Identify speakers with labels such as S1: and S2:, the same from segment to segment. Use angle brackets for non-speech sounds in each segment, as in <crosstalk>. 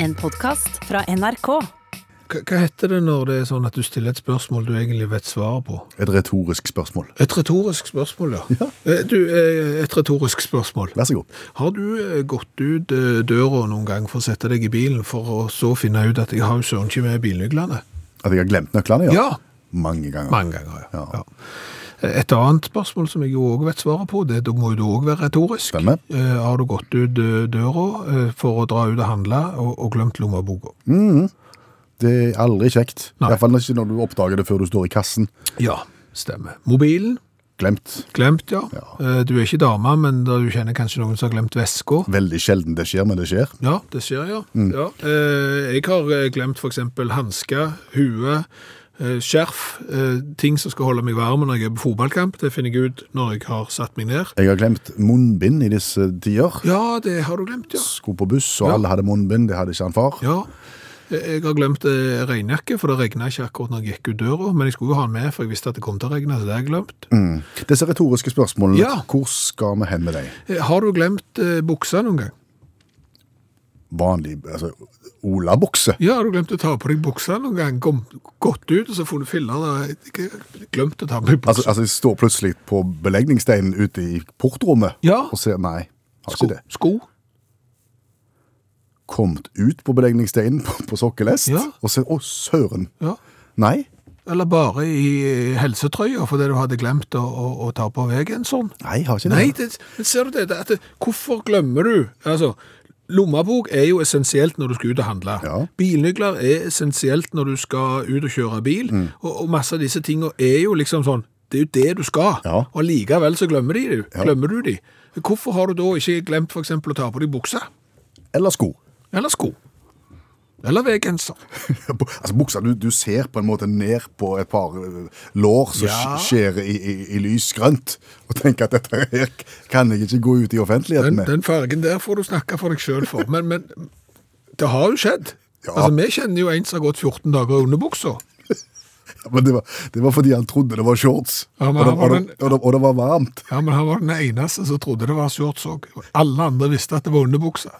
S1: en podkast fra NRK.
S2: Hva hva heter det når det er sånn at du stiller et spørsmål du egentlig vet svaret på?
S3: Et retorisk spørsmål.
S2: Et retorisk spørsmål, ja. Eh, Du, eh, et retorisk spørsmål.
S3: Vær så god.
S2: Har du eh, gått ut eh, døra noen gang for å sette deg i bilen, for å så finne ut at jeg har jo søren ikke med bilnøklene?
S3: At jeg har glemt nøklene?
S2: Ja,
S3: Mange ganger.
S2: mange ganger. Ja.
S3: Ja.
S2: Ja. Et annet spørsmål som jeg jo òg vet svaret på, det da må jo det òg være retorisk.
S3: Stemmer.
S2: Eh, Har du gått ut eh, døra eh, for å dra ut og handle, og, og glemt lommeboka?
S3: Det er aldri kjekt.
S2: Nei.
S3: Iallfall ikke når du oppdager det før du står i kassen.
S2: Ja, stemmer. Mobilen?
S3: Glemt.
S2: Glemt, ja.
S3: Ja.
S2: Eh, Du er ikke dame, men da du kjenner kanskje noen som har glemt veska.
S3: Veldig sjelden det skjer, men det skjer.
S2: Ja, det skjer, ja. ja. Eh, Jeg har eh, glemt f.eks. hansker, hue, eh, skjerf. eh, Ting som skal holde meg varm når jeg er på fotballkamp. Det finner jeg ut når jeg har satt meg ned.
S3: Jeg har glemt munnbind i disse tider.
S2: Ja, det har du glemt, ja.
S3: Skulle på buss, og
S2: Ja.
S3: alle hadde munnbind. Det hadde ikke han far.
S2: ja. Eh, Jeg har glemt eh, regnjakke, for det regna ikke akkurat når jeg gikk ut døra. Men jeg skulle jo ha den med, for jeg visste at det kom til å regne, så det har jeg glemt.
S3: Mm. Disse retoriske spørsmålene,
S2: Ja.
S3: hvor skal vi hen med dem?
S2: Eh, Har du glemt eh, buksa noen gang?
S3: Vanlig altså, olabukse?
S2: Ja, har du glemt å ta på deg buksa noen gang? Kom, gått ut, og så funnet filler da. Jeg har Glemt å ta på deg buksa.
S3: Altså, altså, jeg står plutselig på belegningssteinen ute i portrommet
S2: Ja.
S3: og ser Nei, har
S2: sko,
S3: ikke det.
S2: sko.
S3: Kommet ut på belegningssteinen på, på sokkelest
S2: Ja.
S3: og ser Å, søren!
S2: Ja.
S3: Nei.
S2: Eller bare i helsetrøya, fordi du hadde glemt å, å, å ta på vei en sånn.
S3: Nei, har ikke det.
S2: Nei, det, men ser du det, det, at det? Hvorfor glemmer du? Altså, lommebok er jo essensielt når du skal ut og handle.
S3: Ja.
S2: Bilnøkler er essensielt når du skal ut og kjøre bil.
S3: Mm.
S2: Og, og masse av disse tingene er jo liksom sånn, det er jo det du skal.
S3: Ja.
S2: Og likevel så glemmer, de, det.
S3: Ja.
S2: glemmer du de. Hvorfor har du da ikke glemt for eksempel å ta på deg buksa?
S3: Eller sko. <laughs>
S2: Eller sko? Eller veggenser?
S3: altså, buksa du, du ser på en måte ned på et par eh, lår som
S2: Ja.
S3: sk- skjer i, i, i lys grønt, og tenker at dette her kan jeg ikke gå ut i offentligheten
S2: Den,
S3: med.
S2: den fargen der får du snakke for deg sjøl for. Men, men det har jo skjedd.
S3: Ja.
S2: Altså, Vi kjenner jo en som har gått 14 dager i underbuksa.
S3: Men det var, det var fordi han trodde det var shorts.
S2: Ja, men
S3: og, det,
S2: han var
S3: og,
S2: den-
S3: det, og, det, og det var varmt.
S2: Ja, men han var den eneste som trodde det var shorts òg. Alle andre visste at det var underbuksa.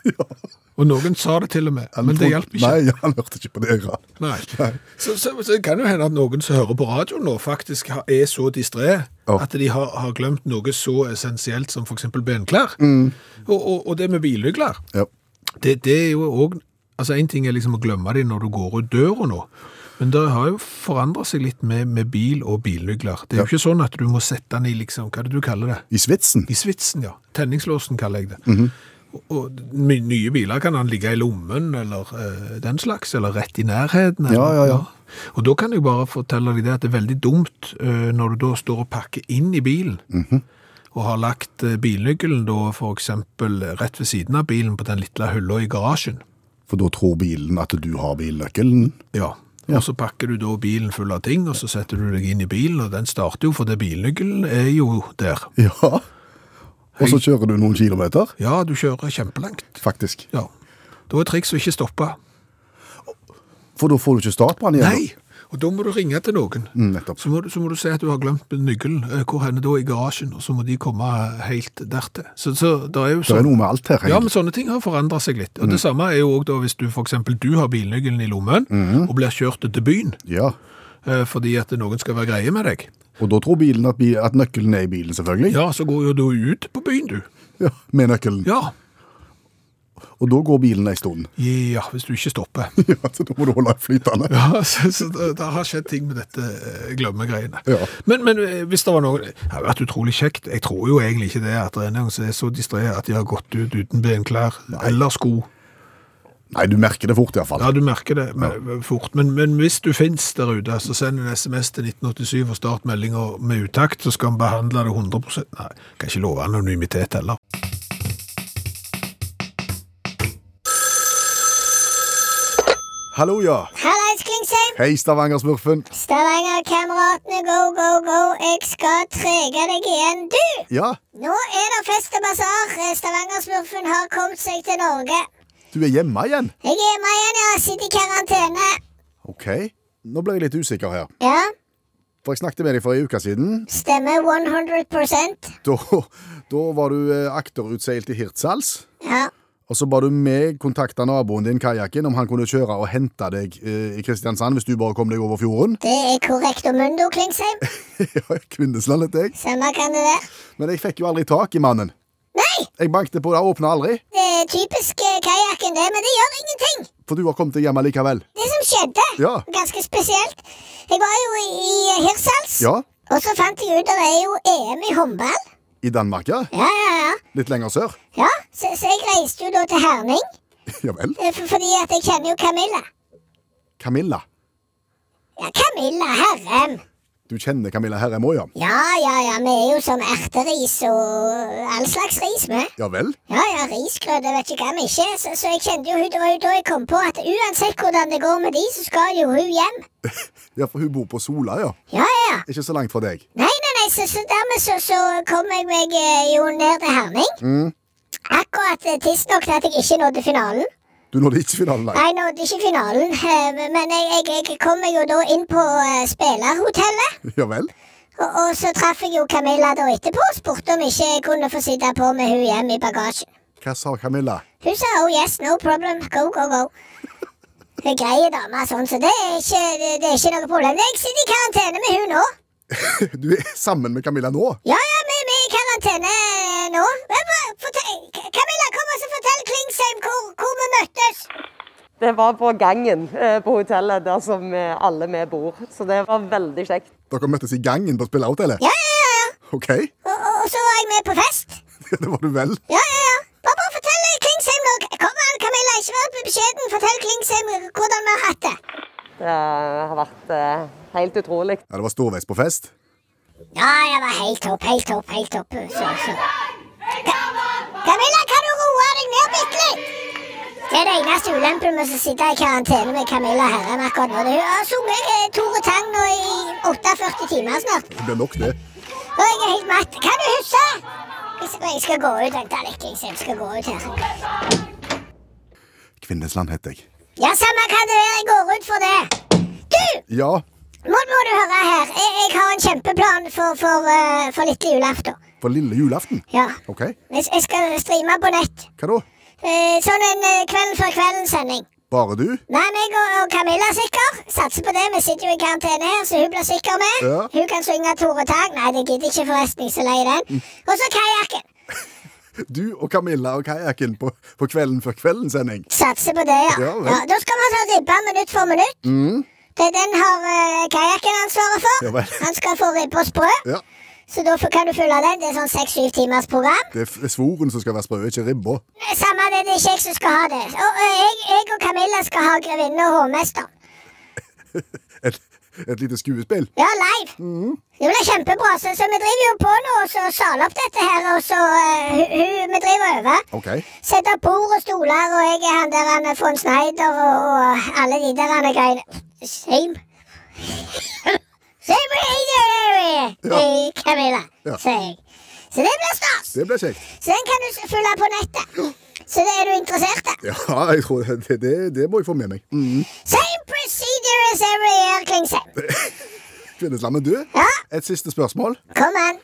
S2: Og noen sa det til og med,
S3: Han
S2: men det
S3: trodde-
S2: hjalp ikke.
S3: Nei, <laughs> han hørte ikke på det. Ja.
S2: Nei. Så, så, så det kan jo hende at noen som hører på radioen nå, faktisk har- er så distré
S3: Ja.
S2: at de har, har glemt noe så essensielt som f.eks. benklær.
S3: Mm.
S2: Og, og, og det med bilnøkler.
S3: Ja.
S2: Det, det er jo òg Altså, én ting er liksom å glemme dem når du går ut døra nå, men det har jo forandra seg litt med, med bil og bilnøkler. Det er jo ikke sånn at du må sette den i liksom Hva er det du kaller det?
S3: I svitsen.
S2: I svitsen, ja. Tenningslåsen kaller jeg det.
S3: Mhm.
S2: Og, og my- nye biler kan han ligge i lommen eller eh, den slags, eller rett i nærheten. Eller,
S3: ja, ja.
S2: Og da kan jeg bare fortelle deg det at det er veldig dumt eh, når du da står og pakker inn i bilen,
S3: Mhm.
S2: og har lagt eh, bilnøkkelen da for eksempel rett ved siden av bilen på den lille hylla i garasjen.
S3: For da tror bilen at du har bilnøkkelen.
S2: Ja. Og så pakker du da bilen full av ting, og så setter du deg inn i bilen, og den starter jo, for det bilnøkkelen er jo der.
S3: Ja. Og så kjører du noen kilometer,
S2: Ja, du kjører kjempelangt.
S3: faktisk.
S2: Ja. Da er triks å ikke stoppe.
S3: For da får du ikke startbrann igjen.
S2: Nei! Og da må du ringe til noen.
S3: Mm, nettopp.
S2: Så må, du, så må du si at du har glemt nøkkelen. Eh, Hvor henne da? I garasjen. Og så må de komme helt dertil. Så, så det er jo
S3: Det er
S2: sånn.
S3: noe Mm. med alt her.
S2: Ja, men
S3: egentlig.
S2: sånne ting har forandret seg litt. Og det samme er jo også da hvis du for eksempel du har bilnøkkelen i lommen
S3: Mm.
S2: og blir kjørt til byen
S3: ja.
S2: eh, fordi at noen skal være greie med deg.
S3: Og da tror bilen at, bi at nøkkelen er i bilen, selvfølgelig.
S2: Ja, så går jo du ut på byen, du.
S3: Ja, Med nøkkelen.
S2: Ja.
S3: Og da går bilen ei stund.
S2: Ja, hvis du ikke stopper.
S3: <laughs> Ja, så da må du holde den flytende.
S2: Ja, <laughs> så, så det, det har skjedd ting med dette eh, glemmegreiene.
S3: Ja.
S2: Men, men eh, hvis det var noe Det har vært utrolig kjekt. Jeg tror jo egentlig ikke det at det er noen som er så distré at de har gått ut uten benklær eller sko.
S3: Nei, du merker det fort iallfall.
S2: Ja, du merker det men, fort. Men, men hvis du finnes der ute, så send en SMS til 1987 og start meldinga med utakt, så skal vi behandle det 100 Nei, kan ikke love anonymitet heller.
S3: Hallo, ja.
S4: Hallais, Klingsheim!
S3: Hei, Stavanger-smurfen.
S4: Stavanger-kameratene, go, go, go! Jeg skal trege deg igjen. Du!
S3: Ja,
S4: Nå er det fest og basar. Stavanger-smurfen har kommet seg til Norge.
S3: du er hjemme igjen.
S4: Jeg er hjemme igjen, ja. Sitter i karantene.
S3: Ok, nå ble jeg litt usikker her.
S4: Ja,
S3: For jeg snakket med deg for en uke siden.
S4: stemmer 100
S3: Da, da var du eh, akterutseilt i Hirtshals.
S4: Ja.
S3: Og så ba du meg kontakte naboen din, kajakken, om han kunne kjøre og hente deg eh, i Kristiansand hvis du bare kom deg over fjorden. <laughs>
S4: Det er korrekt om mundo, Klingsheim.
S3: Ja, Kvinnesland heter jeg.
S4: Samme kan det være.
S3: Men jeg fikk jo aldri tak i mannen.
S4: Nei,
S3: Jeg bankte på det, åpna aldri.
S4: det er typisk eh, kajakken det, men det gjør ingenting.
S3: For du har kommet deg hjem likevel.
S4: Det som skjedde,
S3: Ja.
S4: ganske spesielt Jeg var jo i, i Hirsals,
S3: Ja,
S4: og så fant jeg ut at det er jo EM i håndball.
S3: i Danmark, ja.
S4: Ja, ja, ja.
S3: Litt lenger sør. <laughs>
S4: ja så, så jeg reiste jo da til Herning,
S3: Ja vel.
S4: eh, for, fordi at jeg kjenner jo Camilla.
S3: Camilla.
S4: Ja, Camilla Herrem.
S3: Du kjenner Camilla Herrem òg, ja?
S4: Ja, ja, ja, vi er jo som erteris og all slags ris, vi.
S3: Ja vel?
S4: Ja, ja, risgrøt, jeg vet ikke hva vi ikke er, så, så jeg kjente jo hun, det var jo da jeg kom på at uansett hvordan det går med de, så skal jo hun hjem.
S3: Ja, for hun bor på Sola, ja.
S4: Ja, ja, ja.
S3: Ikke så langt fra deg.
S4: Nei, nei, nei, så, så dermed så, så kom jeg meg eh, jo ned til Herning. Akkurat eh, tidsnok til at jeg ikke nådde finalen.
S3: Du nådde ikke finalen, nei. <laughs>
S4: Nei, nådde ikke finalen, eh, men jeg, jeg, jeg kom meg jo da inn på eh, spillerhotellet.
S3: Ja vel?
S4: Og, og så traff jeg jo Camilla da etterpå og spurte om ikke jeg kunne få sitte på med hun hjem i bagasjen.
S3: Hva sa Camilla? <laughs>
S4: Hun sa oh yes, no problem, go, go, go. Hun er grei dame, sånn, så det er, ikke, det, det er ikke noe problem. Jeg sitter i karantene med hun nå.
S3: Du er sammen med Camilla nå?
S4: Ja, ja, vi, vi er i karantene eh, nå. Men hva- fortell, K- Camilla, kom og så fortell Klingsheim hvor, hvor vi møttes.
S5: Det var på gangen eh, på hotellet der som eh, alle vi bor. Så det var veldig kjekt.
S3: Dere møttes i gangen på spillehotellet?
S4: Ja, ja, ja. ja.
S3: OK, <laughs>
S4: Og, og, og så var jeg med på fest.
S3: det var du vel.
S4: Ja, ja, ja. Bare, bare fortell Klingsheim nå. Kom an, Camilla, ikke vær beskjeden. Fortell Klingsheim hvordan vi har hatt det.
S5: Det har vært eh, helt utrolig.
S3: Ja, Det var storveis på fest.
S4: Ja, det var helt topp, helt topp, helt topp. Så, så. Ka Camilla, kan du roe deg ned bitte litt? Det er det eneste ulempen med å sitte i karantene med Camilla Herrem akkurat nå. Hun har sunget eh, Tore Tang nå i 48 timer snart.
S3: Det blir nok, det.
S4: Og jeg er helt matt. Kan du huske? Jeg skal- Jeg skal gå ut. Vent da litt. Jeg skal gå ut her.
S3: Kvinnesland heter jeg.
S4: Ja, samme kan det være. Jeg går ut for det. Du!
S3: Ja,
S4: Må, må du høre her. Jeg, jeg har en kjempeplan for, for, eh, for lille julaften.
S3: for lille julaften.
S4: Ja.
S3: OK,
S4: Jeg, jeg skal streame på nett.
S3: hva da?
S4: Eh, sånn en eh, Kvelden før kvelden-sending.
S3: Bare du?
S4: Nei, meg og, og Camilla er sikker. Satser på det. Vi sitter jo i karantene her, så hun blir sikker med.
S3: Ja.
S4: Hun kan synge Tore Tang. Nei, det gidder jeg ikke forresten. Jeg er så lei
S3: Mm.
S4: den. Og så kajakken.
S3: Du og Camilla og kajakken på, på Kvelden før kvelden-sending.
S4: Satser på det, ja.
S3: Ja,
S4: ja,
S3: vel. Mm.
S4: da skal vi ta ribba minutt for minutt. Det er Den har uh, kajakken ansvaret for.
S3: Ja, vel.
S4: Han skal få ribbe og sprø.
S3: Ja.
S4: Så da får- kan du følge den. Det er sånn seks-syv timers program.
S3: Det er f- det er svoren som skal være sprø, ikke ribba.
S4: Samme det, det er ikke jeg som skal ha det. Og, og jeg, jeg og Camilla skal ha grevinne og hovmester.
S3: Et, et lite skuespill.
S4: Ja, live.
S3: Mm.
S4: Det blir kjempebra. Så, så vi driver jo på nå og så saler opp dette her, og så eh, hu- hu- Vi driver og øver.
S3: OK.
S4: Setter opp bord og stoler, og jeg er han der han er von Schneider og, og alle de der han er greiene. Same. <laughs> Same radio,
S3: Ja.
S4: hey, Camilla,
S3: Ja.
S4: sier jeg. Så det blir stas.
S3: Det blir kjekt.
S4: Så den kan du s- følge på nettet. Så det er du interessert i.
S3: Ja, jeg tror det, det, det må jeg få med meg. Mm.
S4: Same procedure as every year, Klingsheim.
S3: Kvinnesland, men du,
S4: Ja,
S3: et siste spørsmål.
S4: kom an.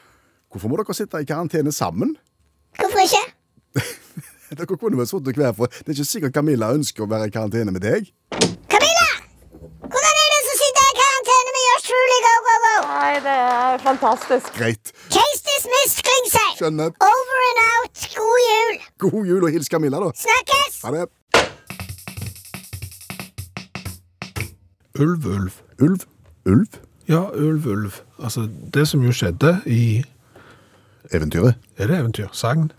S3: Hvorfor må dere sitte i karantene sammen?
S4: Hvorfor ikke?
S3: Dere kunne vel sittet hver for Det er ikke sikkert Camilla ønsker å være i karantene med deg.
S4: Camilla! Hvordan er det som sitter i karantene med yours truly go, go, go?
S5: Nei, det er fantastisk.
S3: Greit.
S4: Case dismissed, Klingsheim.
S3: Skjønner.
S4: Over and out. God jul.
S3: God jul og hils Camilla, da.
S4: Snakkes!
S3: Ha det.
S2: Ulv, ulv.
S3: Ulv. Ulv?
S2: Ja, ulv, ulv. Altså, det som jo skjedde i
S3: Eventyret.
S2: Er det eventyr? Sagn?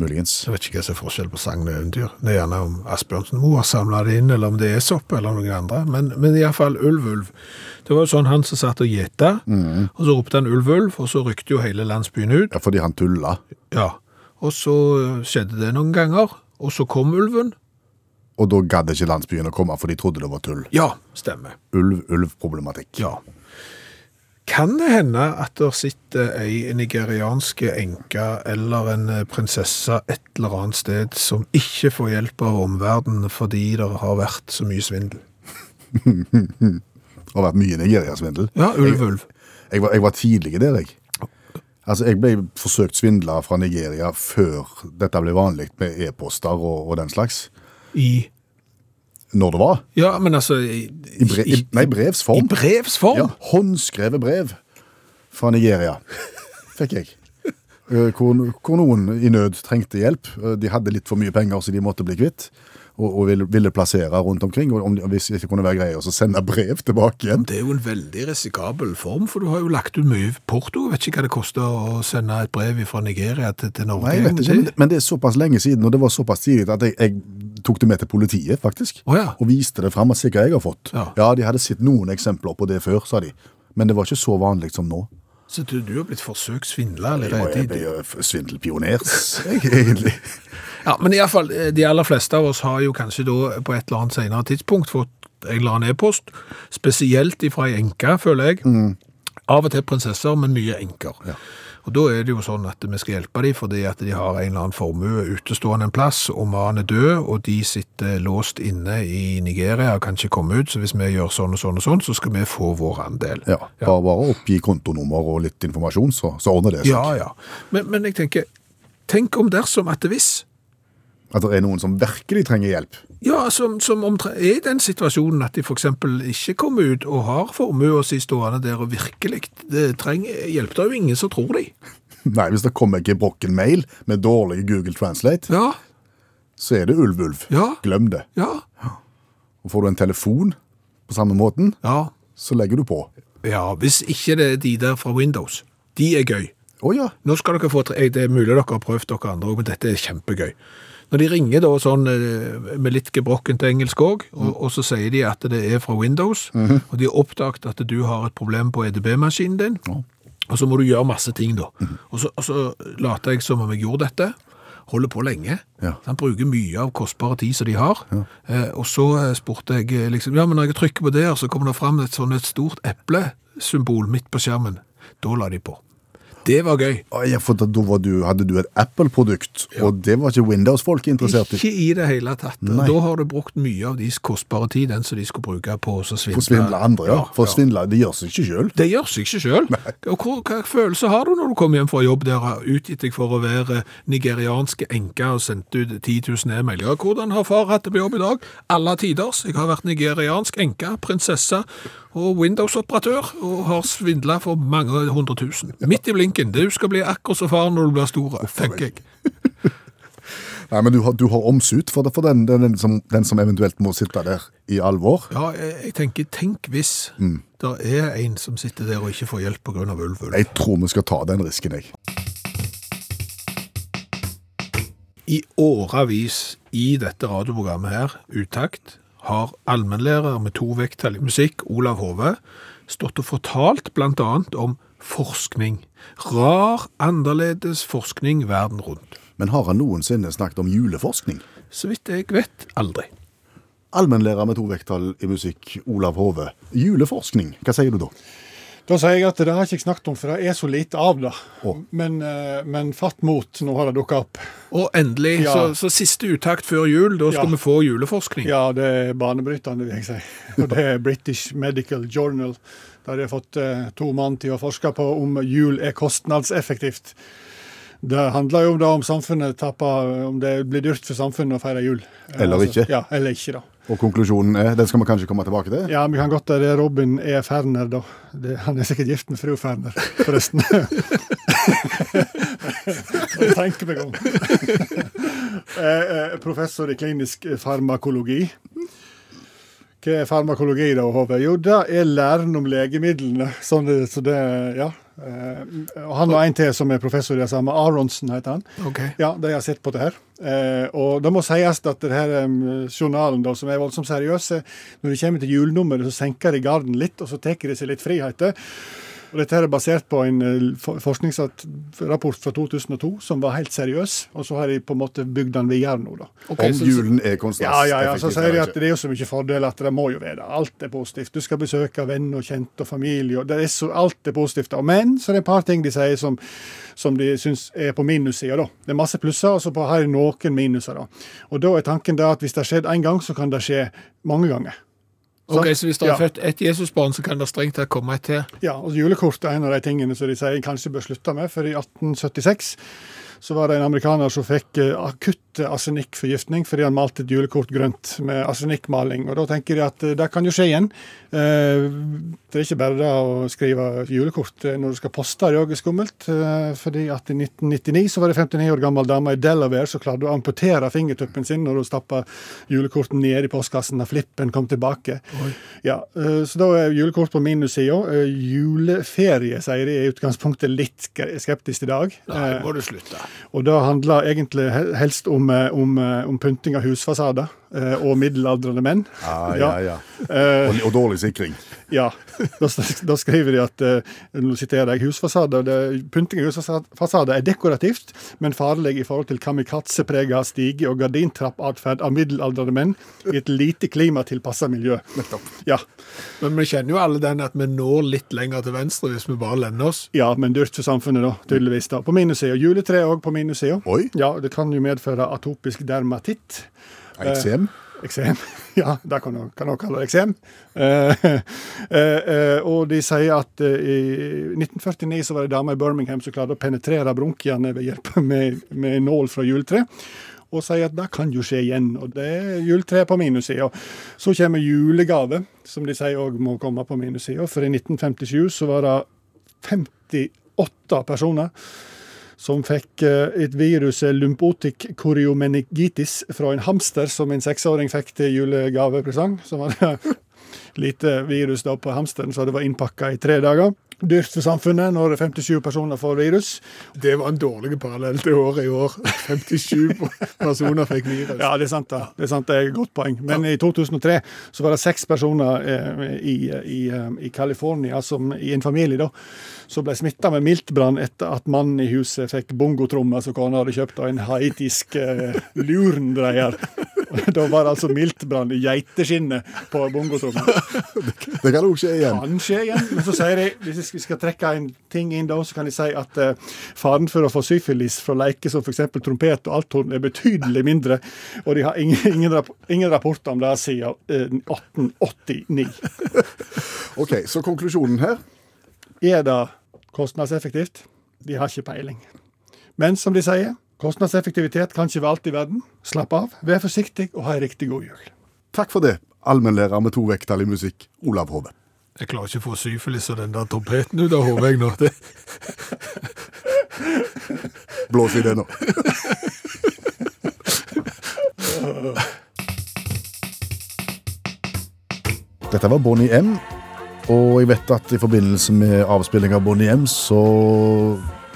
S3: Muligens.
S2: Jeg vet ikke hva som er forskjell på sagn og eventyr. Det er gjerne om Asbjørnsen Moe har samla det inn, eller om det er sopp, eller noen andre. Men, men iallfall ulv, ulv. Det var jo sånn han som satt og gjeta, og så ropte han ulv, ulv, og så rykte jo hele landsbyen ut.
S3: Ja, fordi han tulla.
S2: Ja. Og så eh, skjedde det noen ganger, og så kom ulven.
S3: Og da gadd ikke landsbyen å komme, for de trodde det var tull.
S2: Ja, stemmer.
S3: Ulv, ulv-problematikk.
S2: Ja. Kan det hende at der sitter ei nigeriansk enke eller en eh, prinsesse et eller annet sted som ikke får hjelp av omverdenen fordi det har vært så mye svindel?
S3: Det har vært mye Nigeria-svindel.
S2: Ja, ulv, ulv.
S3: Jeg, var- jeg var tidlig der, jeg. Altså, Jeg ble forsøkt svindla fra Nigeria før dette ble vanlig med e-poster og, og den slags.
S2: I
S3: Når det var.
S2: Ja, men altså I,
S3: I, bre i, nei, brevs
S2: i
S3: form.
S2: brevs form?
S3: Ja, håndskrevet brev fra Nigeria fikk jeg. Eh, Hvor, hvor noen i nød trengte hjelp. Eh, De hadde litt for mye penger, så de måtte bli kvitt. Og, og ville, ville plassere rundt omkring. Og om, de- hvis det ikke kunne være greie å sende brev tilbake igjen.
S2: Det er jo en veldig risikabel form, for du har jo lagt ut mye porto. Jeg vet ikke hva det koster å sende et brev fra Nigeria til, til Norge.
S3: Nei, jeg vet ikke, men, men det er såpass lenge siden, og det var såpass tidlig at jeg, jeg tok det med til politiet, faktisk.
S2: Å ja.
S3: Og viste det fram og se hva jeg har fått.
S2: Ja.
S3: de hadde sett noen eksempler på det før, sa de. Men det var ikke så vanlig som nå.
S2: Så du, du har blitt forsøkt svindla
S3: Og jeg
S2: allerede?
S3: ble jo f- svindelpioner, <laughs> jeg, egentlig.
S2: Ja, men i alle fall, eh, de aller fleste av oss har jo kanskje da på et eller annet senere tidspunkt fått en eller annen e-post, spesielt ifra ei enke, føler jeg.
S3: Mm.
S2: Av og til prinsesser, men mye enker. Og da er det jo sånn at vi skal hjelpe dem fordi at de har en eller annen formue utestående en plass, og mannen er død, og de sitter låst inne i Nigeria og kan ikke komme ut, så hvis vi gjør sånn og sånn og sånn, så skal vi få vår andel.
S3: Ja, bare, bare oppgi kontonummer og litt informasjon, så, så ordner det seg.
S2: Ja, ja. Men, men jeg tenker, tenk om dersom at hvis,
S3: At det er noen som virkelig trenger hjelp. <laughs>
S2: ja, som, som omtre, er i den situasjonen at de for eksempel ikke kommer ut og har formue og si stående der og virkelig det trenger hjelp, det er jo ingen som tror de.
S3: Nei, hvis det kommer ikke brokken mail med dårlig Google Translate,
S2: Ja,
S3: så er det ulv-ulv.
S2: Ja.
S3: Glem det.
S2: ja,
S3: Og får du en telefon på samme måten,
S2: ja.
S3: så legger du på.
S2: Ja, hvis ikke det er de der fra Windows, de er gøy.
S3: Å ja,
S2: Nå skal dere få, tre- jeg- det er mulig dere har prøvd dere andre også, men dette er kjempegøy. Når de ringer da sånn eh, med litt gebrokken til engelsk òg, og, og så sier de at det er fra Windows, og de har oppdaget at du har et problem på EDB-maskinen din, og så må du gjøre masse ting da. Og, så, og så later jeg som om jeg gjorde dette, holder på lenge.
S3: Ja.
S2: Så Han bruker mye av kostbare tid som de har. Eh, og så eh, spurte jeg eh, liksom, ja, men når jeg trykker på det her, så kommer det fram et sånn et stort eplesymbol midt på skjermen. Da la de på. Det var gøy.
S3: Å, ja, for da da var du, hadde du et Apple-produkt, og det var ikke Windows-folk interessert i.
S2: Ikke i det hele tatt.
S3: Nei.
S2: Da har du brukt mye av deres kostbare tid, den som de skulle bruke på å svindle.
S3: For å svindle andre, ja. For å
S2: ja.
S3: svindle, det gjør seg ikke sjøl.
S2: Det gjør seg ikke sjøl. Hva, hva følelse har du når du kommer hjem fra jobb der har utgitt deg for å være nigerianske enke og sendt ut 10 000 e-mailer? Hvordan har far hatt det på jobb i dag? Alle tiders. Jeg har vært nigeriansk enke, prinsesse og Windows-operatør, og har svindla for mange hundre tusen. Midt i blinken. Du skal bli akkurat som far når du blir stor, tenker jeg.
S3: Nei, men du har, du har omsut for, det, for den, den, den, som, den som eventuelt må sitte der i alvor.
S2: Ja, jeg, jeg tenker, tenk hvis
S6: Mm.
S2: det er en som sitter der og ikke får hjelp på grunn av ulv. ulv.
S3: Jeg tror vi skal ta den risken, jeg.
S2: I åravis i dette radioprogrammet her, Utakt, har allmennlærer med to vekttall i musikk, Olav Hove, stått og fortalt blant annet om forskning. Rar, annerledes forskning verden rundt.
S3: Men har han noensinne snakket om juleforskning?
S2: Så vidt jeg vet, aldri.
S3: Allmennlærer med to vekttall i musikk, Olav Hove. Juleforskning, hva sier du da?
S6: Da sier jeg at det har jeg ikke snakket om, for det er så lite av det.
S3: Å.
S6: Men, eh, men fatt mot, nå har det dukka opp.
S2: Og endelig,
S6: Ja.
S2: så, så siste uttakt før jul, da skal
S6: Ja.
S2: vi få juleforskning.
S6: Ja, det er banebrytende, vil jeg
S3: <laughs>
S6: si. Og det er British Medical Journal. Der de har fått eh, to mann til å forske på om jul er kostnadseffektivt. Det handler jo om det om samfunnet tapper, om det blir dyrt for samfunnet å feire jul. Eh,
S3: Eller ikke.
S6: Ja, eller ikke, da.
S3: Og konklusjonen er, den skal vi kanskje komme tilbake til?
S6: Ja, vi kan godt det er Robin E. Ferner, da. Det, han er sikkert gift med fru Ferner, forresten. Jeg tenker meg om. Eh, eh, Professor i klinisk farmakologi. Hva er farmakologi, da, Håve? Jo, det er læren om legemidlene. Sånn, det- så det, ja. Eh, og han og en til som er professor i det samme, Aronsen heter han.
S2: Ok.
S6: Ja, de har sett på det her. Eh, og det må sies at det her em, journalen, da, som er voldsomt seriøs, eh, når det kommer til julenummeret, så senker de garden litt, og så tar de seg litt friheter. Og dette her er basert på en eh, for- forskningsrapport fra 2002 som var helt seriøs, og så har de på en måte bygd den videre nå, da.
S2: Ok,
S3: Om
S2: så-
S3: julen er
S6: Ja, ja, ja,
S3: kostnadseffektiv
S6: så sier de
S3: eller
S6: at
S3: ikke?
S6: det er jo så mye fordeler at det må jo være det. Alt er positivt. Du skal besøke venner og kjente og familie, og det er så, alt er positivt. Og Men så er det et par ting de sier som, som de syns er på minussida, da. Det er masse plusser, og så på- har de noen minuser, da. Og da er tanken det at hvis det har skjedd én gang, så kan det skje mange ganger.
S2: Ok,
S6: Sant?
S2: Så hvis det er
S6: Ja.
S2: født ett Jesusbarn, så kan det strengt tatt komme et til?
S6: Ja, altså Julekort er en av de tingene som de sier jeg kanskje bør slutte med. For i 1876 så var det en amerikaner som fikk eh, akutt arsenikkforgiftning fordi han malte et julekort grønt med arsenikkmaling. Og da tenker de at eh, det kan jo skje igjen. Eh, Det er ikke bare det å skrive julekort eh, når du skal poste, det er også skummelt. eh, Fordi at i 1999 så var det 59 år gammel dame i Delaware som klarte å amputere fingertuppen sin når hun stappa julekorten ned i postkassen da flippen kom tilbake. Ja, eh, så da er julekort på minussida. Eh, Juleferie, sier de, er i utgangspunktet litt ske- skeptisk i dag.
S2: Nei,
S6: Eh,
S2: må du slutte.
S6: og det handler egentlig he- helst om, eh, om, eh, om pynting av husfasader eh, og middelaldrende menn.
S3: Ja, ja, ja.
S6: Eh,
S3: Og, og dårlig sikring.
S6: ja. Da, s- da skriver de at eh, nå siterer jeg, husfasader, det, pynting av husfasader er dekorativt, men farlig i forhold til kamikazeprega stige- og gardintrappatferd av middelaldrende menn i et lite klimatilpassa miljø. Ja.
S2: Men vi kjenner jo alle den at vi når litt lenger til venstre hvis vi bare lender oss.
S6: Ja, men dyrt for samfunnet, da, tydeligvis. da. På minussida. Juletre òg på minussida.
S3: Oi.
S6: Ja, det kan jo medføre atopisk dermatitt.
S3: Eksem.
S6: Eksem. <laughs> Ja, det kan man kan også kalle det eksem. Eh, <laughs> eh, eh, og de sier at eh, i 1949 så var det ei dame i Birmingham som klarte å penetrere bronkiene ved hjelp med, med nål fra juletre. Og sier at det kan jo skje igjen, og det er juletre på minussida. Så kommer julegave, som de sier òg må komme på minussida. For i 1957 så var det 58 personer som fikk eh, et virus, eh, lumpotic choriomeningitis, fra en hamster som en seksåring fikk til julegavepresang. Så var <laughs> det lite virus da på hamsteren, så det var innpakka i tre dager. Dyrt for samfunnet når 57 personer får virus.
S2: Det var en dårlig parallell til året i år. <laughs> 57 <laughs> personer fikk virus.
S6: Ja, det er sant. da. Det er sant, det er et godt poeng. Men i 2003 så var det seks personer eh, i, i, eh, i California, som i en familie, da, som ble smitta med miltbrann etter at mannen i huset fikk bongotrommer som kona hadde kjøpt av en haitisk eh, lurendreier. <laughs> Da var det altså miltbrann i geiteskinnet på bongotrommen.
S3: Det kan òg skje igjen.
S6: Kan skje igjen. Men så sier de, hvis vi skal trekke en ting inn da, så kan de si at eh, faren for å få syfilis fra leker som f.eks. trompet og althorn er betydelig mindre, og de har ingen, ingen, rapp ingen rapporter om det siden eh, 1889.
S3: Ok, Så konklusjonen her
S6: Er det kostnadseffektivt? De har ikke peiling. Men som de sier, kostnadseffektivitet kan ikke være alt i verden. Slapp av, vær forsiktig og ha ei riktig god jul.
S3: Takk for det, allmennlærer med to vekttall i musikk, Olav Hove.
S2: Jeg klarer ikke å få syfilis og den der trompeten ut av hodet jeg nå. Det,
S3: Blås i det nå. Dette var Bonnie M, og jeg vet at i forbindelse med avspilling av Bonnie M, så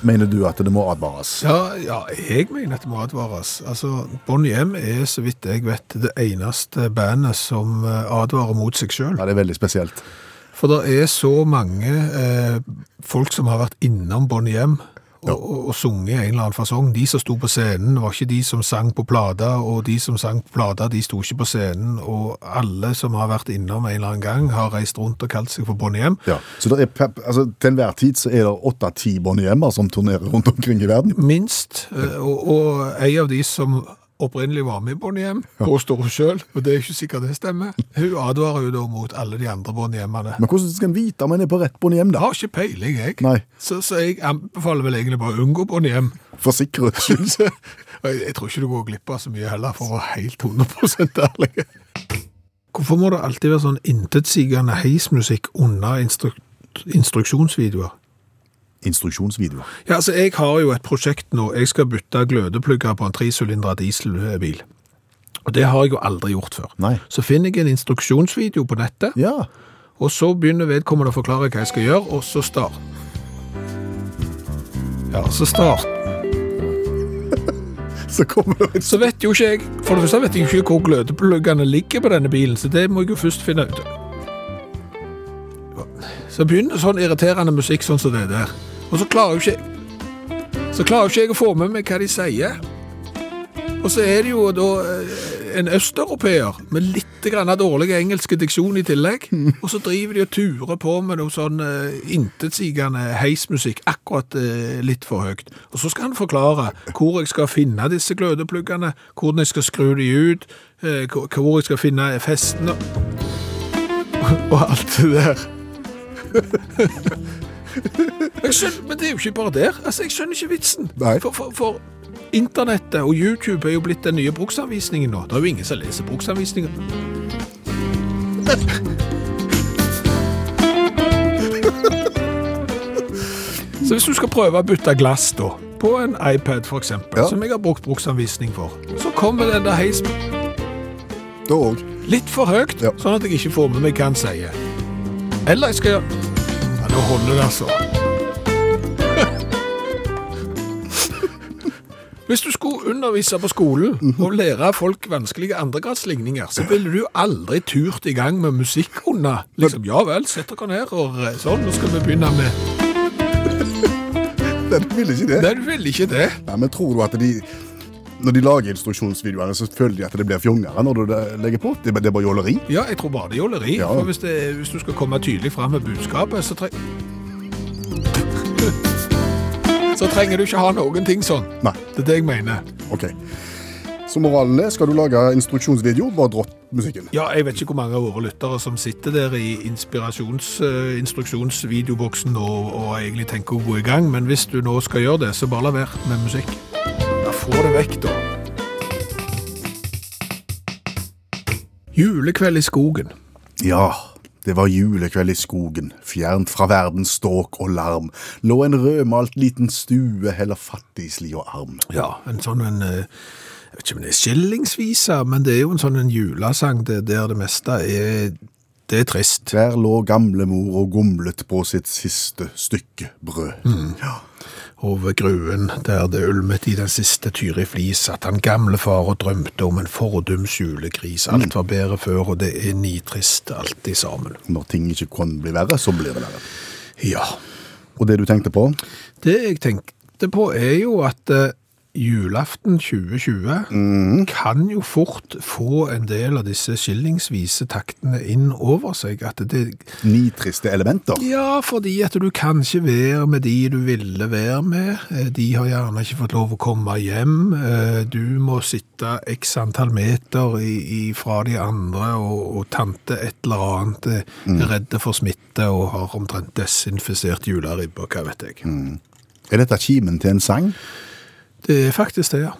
S3: mener du at det må advares.
S2: ja, ja, jeg mener at det må advares. Altså, Bonnie M er, så vidt jeg vet, det eneste bandet som eh, advarer mot seg sjøl.
S3: Ja, det er veldig spesielt.
S2: For det er så mange eh, folk som har vært innom Bonnie M og, og, og sunget en eller annen fasong. De som sto på scenen, var ikke de som sang på plata, og de som sang på plata, de sto ikke på scenen. Og alle som har vært innom en eller annen gang, har reist rundt og kalt seg for Bonnie M.
S3: Ja. Så det er, pep- altså, til enhver tid så er det åtte-ti Bonnie M-er som turnerer rundt omkring i verden.
S2: Minst. eh, Og, og en av de som opprinnelig var med i Bonnie M, påstår hun sjøl, og det er ikke sikkert det stemmer. Hun advarer jo da mot alle de andre Bonnie M-ene.
S3: Men hvordan skal en vite om en er på rett Bonnie M,
S2: Jeg
S3: da?
S2: har ikke peiling, jeg.
S3: Nei.
S2: Så, så jeg anbefaler vel egentlig bare å unngå Bonnie M.
S3: For sikkerhets skyld.
S2: <laughs> Så- og Jeg jeg tror ikke du går glipp av så mye heller, for å være helt 100 ærlig. Hvorfor må det alltid være sånn intetsigende heismusikk under instruk instruksjonsvideoer?
S3: Instruksjonsvideoer.
S2: Ja, altså, Jeg har jo et prosjekt nå. Jeg skal bytte glødeplugger på en tresylindra dieselbil. Og Det har jeg jo aldri gjort før.
S3: Nei.
S2: Så finner jeg en instruksjonsvideo på nettet,
S3: Ja.
S2: og så begynner vedkommende å forklare hva jeg skal gjøre, og så start. Ja, så start.
S3: Så kommer det
S2: så vet jo ikke jeg For det første vet jeg ikke hvor glødepluggene ligger på denne bilen, så det må jeg jo først finne ut. Så begynner sånn irriterende musikk sånn som det der. Og så klarer jo ikke Så klarer jo ikke jeg å få med meg hva de sier. Og så er det jo da eh, en østeuropeer med litt grann av dårlig engelsk diksjon i tillegg. Og så driver de og turer på med noe sånn eh, intetsigende heismusikk akkurat eh, litt for høyt. Og så skal han forklare hvor jeg skal finne disse glødepluggene, hvordan jeg skal skru de ut, eh, hvor hvor jeg skal finne festene. og alt det der. <laughs> Jeg skjønner, men det er jo ikke bare der. Altså, Jeg skjønner ikke vitsen.
S3: Nei.
S2: For, for, for internettet og YouTube er jo blitt den nye bruksanvisningen nå. Det er jo ingen som leser <laughs> bruksanvisningen. Så hvis du skal prøve å bytte glass da, på en iPad for eksempel,
S3: Ja.
S2: som jeg har brukt bruksanvisning for, så kommer den der heisen
S3: Da òg.
S2: litt for høyt,
S3: Ja.
S2: sånn at jeg ikke får med meg hva han sier. Eller jeg skal gjøre Ja, nå holder det, altså. <laughs> Hvis du skulle undervise på skolen og lære folk vanskelige andregradsligninger, så ville du jo aldri turt i gang med musikk under. Liksom, ja vel, sett dere ned og eh, sånn, nå skal vi begynne med
S3: Den ville ikke det.
S2: Nei, du ville ikke det.
S3: Nei, men tror du at de Når de lager instruksjonsvideoene, så føler de at det blir fjongere når du det- legger på? Det, er bare- det er bare jåleri.
S2: Ja, jeg tror bare det er jåleri.
S3: Ja.
S2: For hvis, det, hvis du skal komme tydelig fram med budskapet, så trenger <laughs> Så trenger du ikke ha noen ting sånn.
S3: Nei.
S2: Det er det jeg mener.
S3: OK. Så moralen er, skal du lage instruksjonsvideo, bare dropp musikken.
S2: Ja, jeg vet ikke hvor mange av våre lyttere som sitter der i inspirasjons, eh, instruksjonsvideoboksen og, og egentlig tenker å gå i gang, men hvis du nå skal gjøre det, så bare la være med musikk. Ja, få det vekk, da. Julekveld i skogen.
S3: Ja, det var julekveld i skogen, fjernt fra verdens ståk og larm, lå en rødmalt liten stue heller fattigslig og arm.
S2: Ja, en sånn en eh, Jeg vet ikke om det er skillingsvisa, men det er jo en sånn en julesang det, der det meste er Det er trist.
S3: Der lå gamlemor og gomlet på sitt siste stykke brød. Ja.
S2: Over gruen der det ulmet i den siste tyre flis, at han gamle far og drømte om en fordums julegris. Alt var bedre før, og det er nitrist alltid sammen.
S3: Når ting ikke kan bli verre, så blir det verre.
S2: Ja.
S3: Og det du tenkte på?
S2: Det jeg tenkte på er jo at eh, julaften 2020 kan jo fort få en del av disse skillingsvise taktene inn over seg. At det,
S3: Ni triste elementer.
S2: Ja, fordi at du kan ikke være med de du ville være med. Eh, De har gjerne ikke fått lov å komme hjem. Eh, Du må sitte x antall meter i- i- fra de andre, og, og tante et eller annet eh, er redde for smitte og har omtrent desinfisert juleribber, hva vet jeg.
S3: Er dette kimen til en sang?
S2: Det er faktisk det, ja.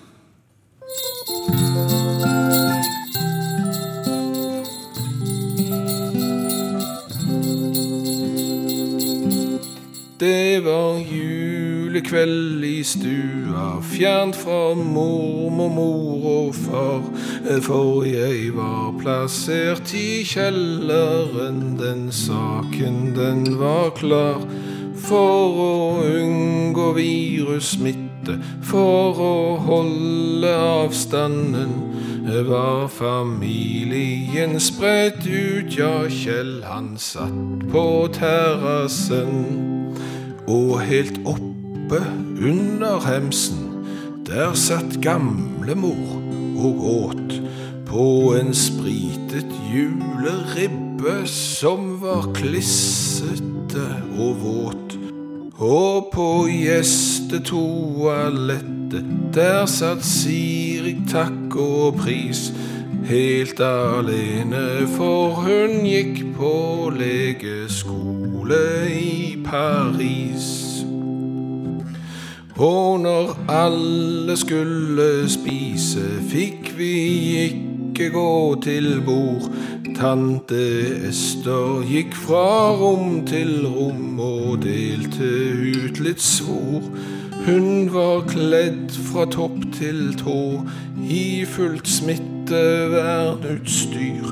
S2: Det var julekveld i stua, fjernt fra mormor, mor og far. For jeg var plassert i kjelleren, den saken den var klar. For å unngå virussmitte, for å holde avstanden, var familien spredt ut, ja, Kjell han satt på terrassen. Og helt oppe under hemsen, der satt gamlemor og åt på en spritet juleribbe som var klissete og våt. Og på gjestetoalettet, der satt Siri takk og pris. Helt alene, for hun gikk på legeskole i Paris. Og når alle skulle spise, fikk vi ikke gå til bord. Tante Ester gikk fra rom til rom og delte ut litt svor. Hun var kledd fra topp til tå i fullt smittevernutstyr.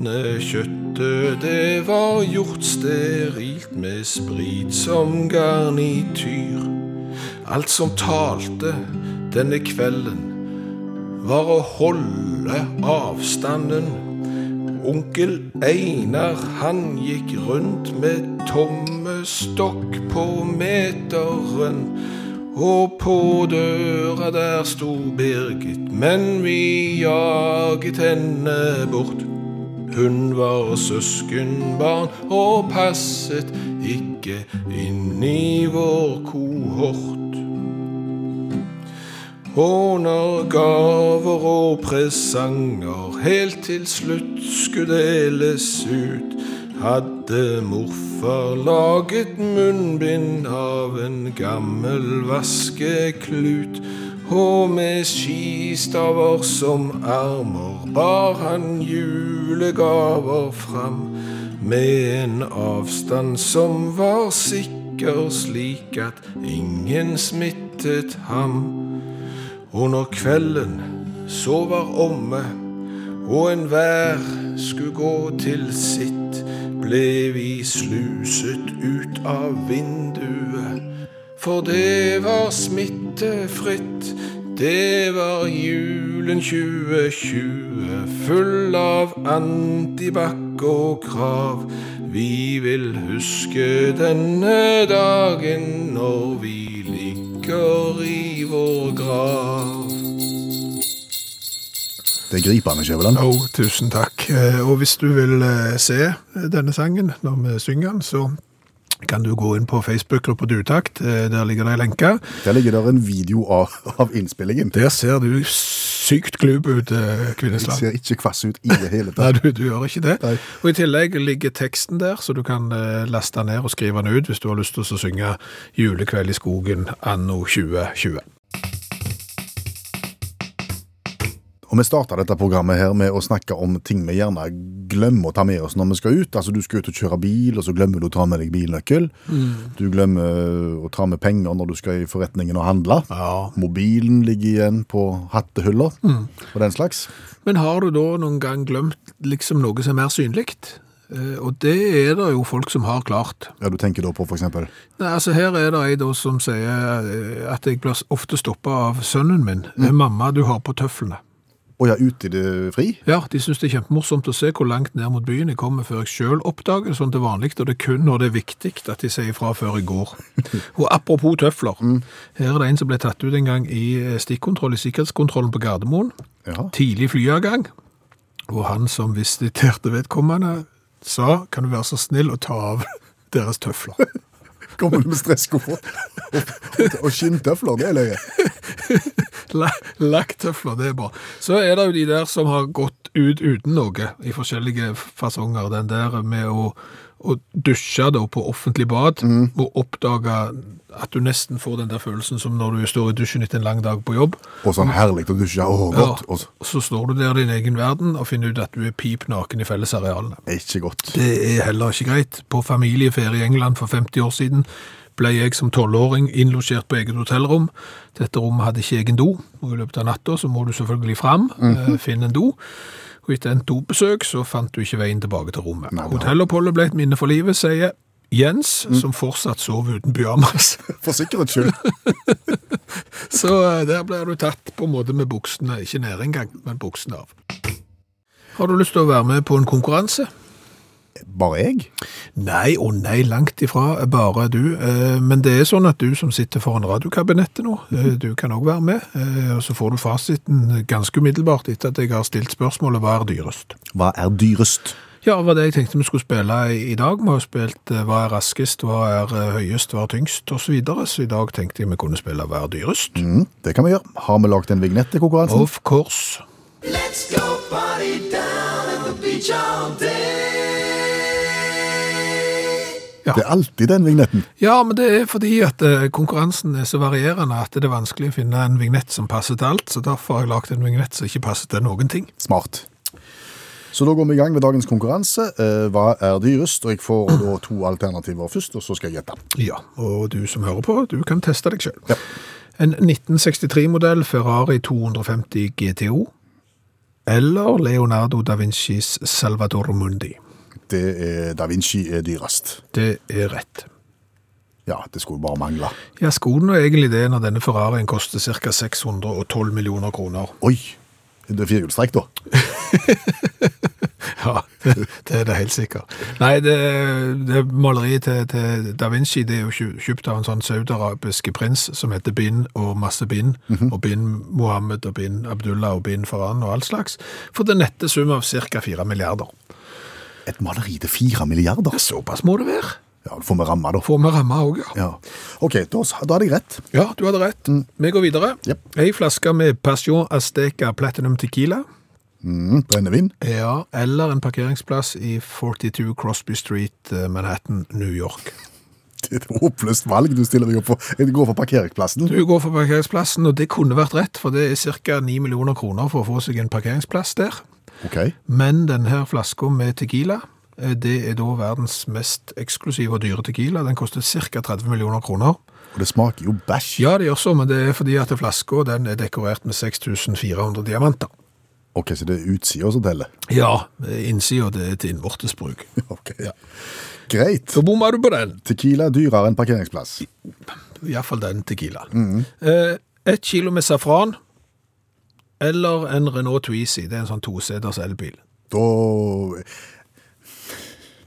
S2: Pinnekjøttet, det var gjort sterilt med sprit som garnityr. Alt som talte denne kvelden, var å holde avstanden. Onkel Einar, han gikk rundt med tommestokk på meteren. Og på døra der sto Birgit, men vi jaget henne bort. Hun var søskenbarn og passet ikke inn i vår kohort. Håner, gaver og presanger, helt til slutt skulle deles ut. Hadde morfar laget munnbind av en gammel vaskeklut. Og med skistaver som ermer bar han julegaver fram. Med en avstand som var sikker, slik at ingen smittet ham. Og når kvelden så var omme, og enhver skulle gå til sitt, ble vi sluset ut av vinduet. For det var smittefritt, det var julen 2020, full av antibac og krav. Vi vil huske denne dagen når vi ligger i vår grav.
S3: Det griper han ikke, vel? han?
S2: Jo, tusen takk. Eh, Og hvis du vil eh, se denne sangen når vi synger den, så kan du gå inn på Facebook-gruppa Dutakt. Eh, Der ligger det en lenke.
S3: Der ligger der en video av, av innspillingen.
S2: Der ser du sykt glup ut, eh,
S3: Det
S2: Kvinnesland.
S3: ser ikke kvass ut i det hele
S2: Nei,
S3: tatt.
S2: du, du gjør ikke det.
S3: Nei.
S2: Og I tillegg ligger teksten der, så du kan eh, laste den ned og skrive den ut hvis du har lyst til å synge 'Julekveld i skogen' anno 2020.
S3: Og vi starta dette programmet her med å snakke om ting vi gjerne glemmer å ta med oss når vi skal ut. Altså Du skal ut og kjøre bil, og så glemmer du å ta med deg bilnøkkel. Du glemmer eh, å ta med penger når du skal i forretningen og handle.
S2: Ja.
S3: Mobilen ligger igjen på hattehylla og den slags.
S2: Men har du da noen gang glemt liksom noe som er synlig? Eh, Og det er det jo folk som har klart.
S3: Ja, Du tenker da på for eksempel
S2: Nei, altså Her er det ei da som sier eh, at jeg blir ofte stoppa av sønnen min. Eh, 'Mamma, du har på tøflene'.
S3: Å ja, ute i det fri?
S2: Ja, de syns det er kjempemorsomt å se hvor langt ned mot byen jeg kommer før jeg sjøl oppdager det sånn til vanlig, og det er kun når det er viktig at de sier ifra før jeg går. Og apropos tøfler. Her er det en som ble tatt ut en gang i eh, stikkontroll i sikkerhetskontrollen på Gardermoen.
S3: Ja.
S2: Tidlig flyavgang. Og han som visiterte vedkommende, sa 'kan du være så snill å ta av <laughs> deres tøfler'.
S3: Kommer du med stresskoffer <laughs> og skinntøfler? Det er løye.
S2: La- Lakktøfler, det er bra. Så er det jo de der som har gått ut uten noe, i forskjellige fasonger. Den der med å, å dusje da på offentlig bad,
S3: Mhm.
S2: og oppdage at du nesten får den der følelsen som når du står i dusjen etter en lang dag på jobb.
S3: Og sånn herlig å dusje. Å, godt.
S2: Ja,
S3: Og så,
S2: så står du der i din egen verden og finner ut at du er pip naken i fellesarealene.
S3: ikke godt.
S2: Det er heller ikke greit. På familieferie i England for 50 år siden ble jeg som tolvåring innlosjert på eget hotellrom. Dette rommet hadde ikke egen do, og i løpet av natta så må du selvfølgelig fram, eh, finne en do. Og etter en dobesøk så fant du ikke veien tilbake til rommet. Hotelloppholdet ble et minne for livet, sier Jens, som fortsatt sov uten pyjamas. <laughs>
S3: For sikkerhets skyld.
S2: Så eh, der blir du tatt på en måte med buksene, ikke ned engang, men buksene av. Har du lyst til å være med på en konkurranse?
S3: Bare jeg?
S2: Nei og nei, langt ifra bare du. Eh, Men det er sånn at du som sitter foran radiokabinettet nå, eh, du kan òg være med. Eh, Og så får du fasiten ganske umiddelbart etter at jeg har stilt spørsmålet hva er dyrest.
S3: Hva er dyrest?
S2: Ja, det var det jeg tenkte vi skulle spille i i dag. Vi har jo spilt eh, hva er raskest, hva er eh, høyest, hva er tyngst osv. Så, videre. så i dag tenkte jeg vi kunne spille hva er dyrest.
S3: Mm, det kan vi gjøre. Har vi lagd en vignett til konkurransen?
S2: Of course.
S7: Let's go party down at the beach all day.
S3: Det er alltid den vignetten.
S2: Ja, men det er fordi at eh, konkurransen er så varierende at det er vanskelig å finne en vignett som passer til alt. Så derfor har jeg lagd en vignett som ikke passer til noen ting.
S3: Smart. Så da går vi i gang med dagens konkurranse. Eh, hva er dyrest? Og jeg får da to alternativer først, og så skal jeg gjette.
S2: Ja, og du som hører på, du kan teste deg selv. En 1963-modell Ferrari 250 GTO, eller Leonardo da Vincis Salvador Mundi.
S3: Det er Da Vinci er dyrest.
S2: Det er rett.
S3: Ja, det skulle bare mangle.
S2: Ja, skolen er egentlig det når denne Ferrarien koster ca. 612 millioner kroner.
S3: Oi! Det er firehjulstrekk, da.
S2: Ja, <laughs> det, det er det helt sikkert. Nei, det, det maleriet til, til da Vinci det er jo kjø- kjøpt av en sånn saudarabiske prins som heter Bin og masse Bin, og Bin Mohammed og Bin Abdullah og Bin Faran og all slags, for den nette sum av ca. 4 milliarder.
S3: Et maleri til fire milliarder.
S2: Såpass må det være.
S3: Ja, får vi ramme, da.
S2: Får vi ramme òg, ja.
S3: Ja. OK, da, s- da hadde jeg rett.
S2: Ja, Mm. du hadde rett. Vi går videre.
S3: Jep.
S2: Ei flaske med Passion Azteca Platinum Tequila.
S3: Mm, brennevin.
S2: Ja, eller en parkeringsplass i 42 Crosby Street, eh, Manhattan, New York.
S3: Det er et håpløst valg du stiller deg opp for. Jeg går for parkeringsplassen.
S2: Du går for parkeringsplassen, og det kunne vært rett, for det er ca. 9 millioner kroner for å få seg en parkeringsplass der.
S3: OK.
S2: Men denne flaska med tequila, eh, det er da verdens mest eksklusive og dyre tequila. Den koster ca. 30 millioner kroner.
S3: Og det smaker jo bæsj.
S2: Ja, det gjør så, men det er fordi at flaska den er dekorert med 6400 diamanter.
S3: OK, så det er utsida som teller. <laughs>
S2: Ja, innsida det er til innvortes <laughs> bruk.
S3: Ok. Greit.
S2: Da bomma du på den.
S3: Tequila er dyrere enn parkeringsplass.
S2: Iallfall den tequilaen. Eh, Ett kilo med safran eller en Renault Twizy. Det er en sånn toseters elbil.
S3: Da <laughs>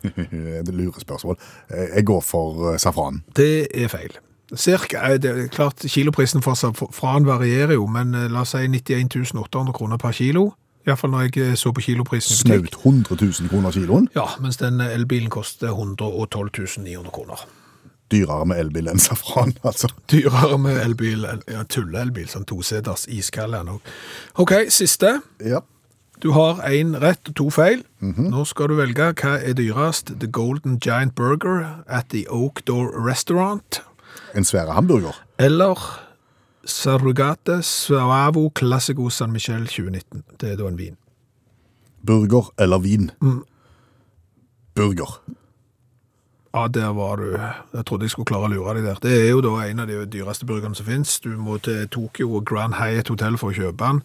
S3: Det er lurespørsmål. Jeg går for eh, safran.
S2: Det er feil. Cirka, eh, det er klart Kiloprisen for safran varierer jo, men eh, la oss si 91 800 kroner per kilo. Iallfall når jeg eh, så på kiloprisen. i butikk.
S3: Snaut 100 000 kroner kiloen.
S2: Ja, mens den eh, elbilen koster 112 900 kroner.
S3: Dyrere med elbil enn <laughs> safran, altså.
S2: Dyrere med elbil enn ja, tulleelbil, sånn toseters iskald her nå. OK, siste.
S3: Ja.
S2: Du har én rett og to feil. Nå skal du velge hva er dyrest. The Golden Giant Burger at the Oak Door Restaurant.
S3: En svære hamburger.
S2: Eller Sarugate Suavo Classico San Michel 2019. Det er da en vin.
S3: Burger eller vin.
S2: Mm.
S3: Burger.
S2: Ja, der var du. Jeg trodde jeg skulle klare å lure deg der. Det er jo da en av de dyreste burgerne som finnes. Du må til Tokyo og Grand Hyatt Hotel for å kjøpe den.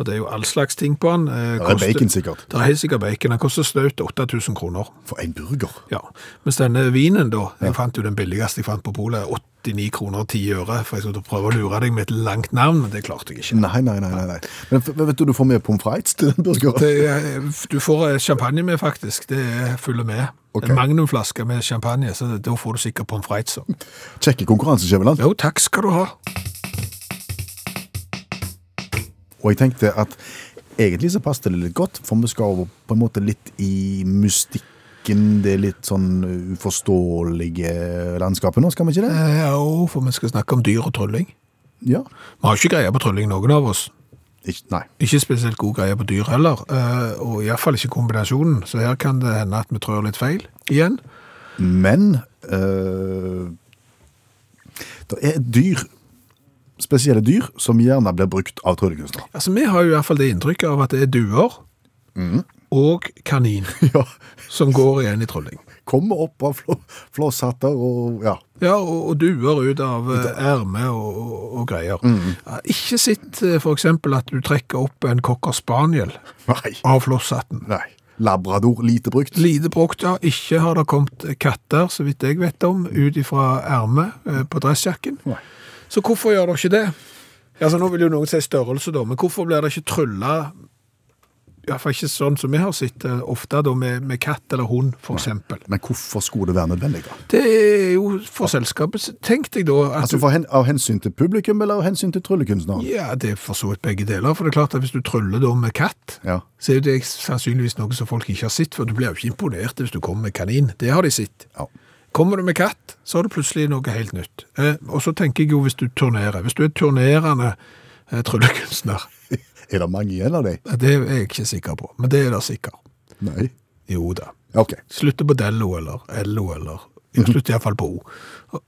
S2: Og det er jo all slags ting på den. Eh,
S3: Det er
S2: koster-
S3: bacon, sikkert.
S2: Det er helt sikkert bacon. Den koster snaut 8000 kroner.
S3: For en burger.
S2: Ja, mens denne vinen da, jeg fant jo den billigste jeg fant på Polet, 89 kroner og 10 øre, for jeg skulle prøve å lure deg med et langt navn, men det klarte jeg ikke.
S3: Nei, nei, nei. nei, nei. Men f- vet du, du får med pommes frites til den burgeren.
S2: Det, er- du får eh, champagne med faktisk, det er- følger med.
S3: Ok.
S2: En magnumflaske med champagne, så da får du sikkert pommes frites. også.
S3: Kjekke konkurranse, Skjæveland.
S2: Jo, takk skal du ha.
S3: Og jeg tenkte at egentlig så passet det litt godt, for vi skal over på en måte litt i mystikken, det litt sånn uforståelige landskapet nå, skal vi ikke det?
S2: Eh, Jo, for vi skal snakke om dyr og trylling.
S3: Ja.
S2: Vi har jo ikke greie på trylling, noen av oss.
S3: Ikke, nei.
S2: Ikke spesielt god greie på dyr heller, eh, og i hvert fall ikke kombinasjonen, så her kan det hende at vi trør litt feil igjen.
S3: Men eh, det er dyr, spesielle dyr, som gjerne blir brukt av tryllekunstnere.
S2: Altså, Vi har jo i hvert fall det inntrykket av at det er duer Mm. og <laughs> kanin
S3: <laughs> Ja.
S2: som går igjen i trylling.
S3: Kommer opp av flå, flåsshatter og ja.
S2: Ja, og, og duer ut av Mm. eh, erme og, og, og greier. Ja, Ikke sitt eh, for eksempel at du trekker opp en cocker spaniel
S3: Nei.
S2: av flosshatten.
S3: Nei. Labrador, lite brukt.
S2: Lite brukt, ja. Ikke har det kommet katter, så vidt jeg vet om, ut ifra ermet eh, på dressjakken.
S3: Nei.
S2: Så hvorfor gjør dere ikke det? Altså, Nå vil jo noen si størrelse, da, men hvorfor blir det ikke trylla Iallfall ikke sånn som vi har sett, eh, ofte da med, med katt eller hund, f.eks.
S3: Men hvorfor skulle det være nødvendig, da?
S2: Det er jo for selskapet Tenk deg da at
S3: Altså
S2: du-
S3: for hen, Av hensyn til publikum eller av hensyn til tryllekunstneren?
S2: Ja, det er for så vidt begge deler. For det er klart at hvis du tryller da med katt,
S3: Ja. <laughs>
S2: så er jo det sannsynligvis noe som folk ikke har sett, for du blir jo ikke imponert hvis du kommer med kanin. Det har de sett.
S3: Ja.
S2: Kommer du med katt, så er det plutselig noe helt nytt. Eh, og så tenker jeg jo hvis du turnerer. Hvis du er turnerende eh, tryllekunstner,
S3: Er det mange igjen av dem?
S2: eh, det er jeg ikke sikker på, men det er det sikkert.
S3: Nei.
S2: Jo da.
S3: OK.
S2: Slutter på Dello eller Ello eller ja,
S3: Mhm.
S2: Slutter iallfall på O.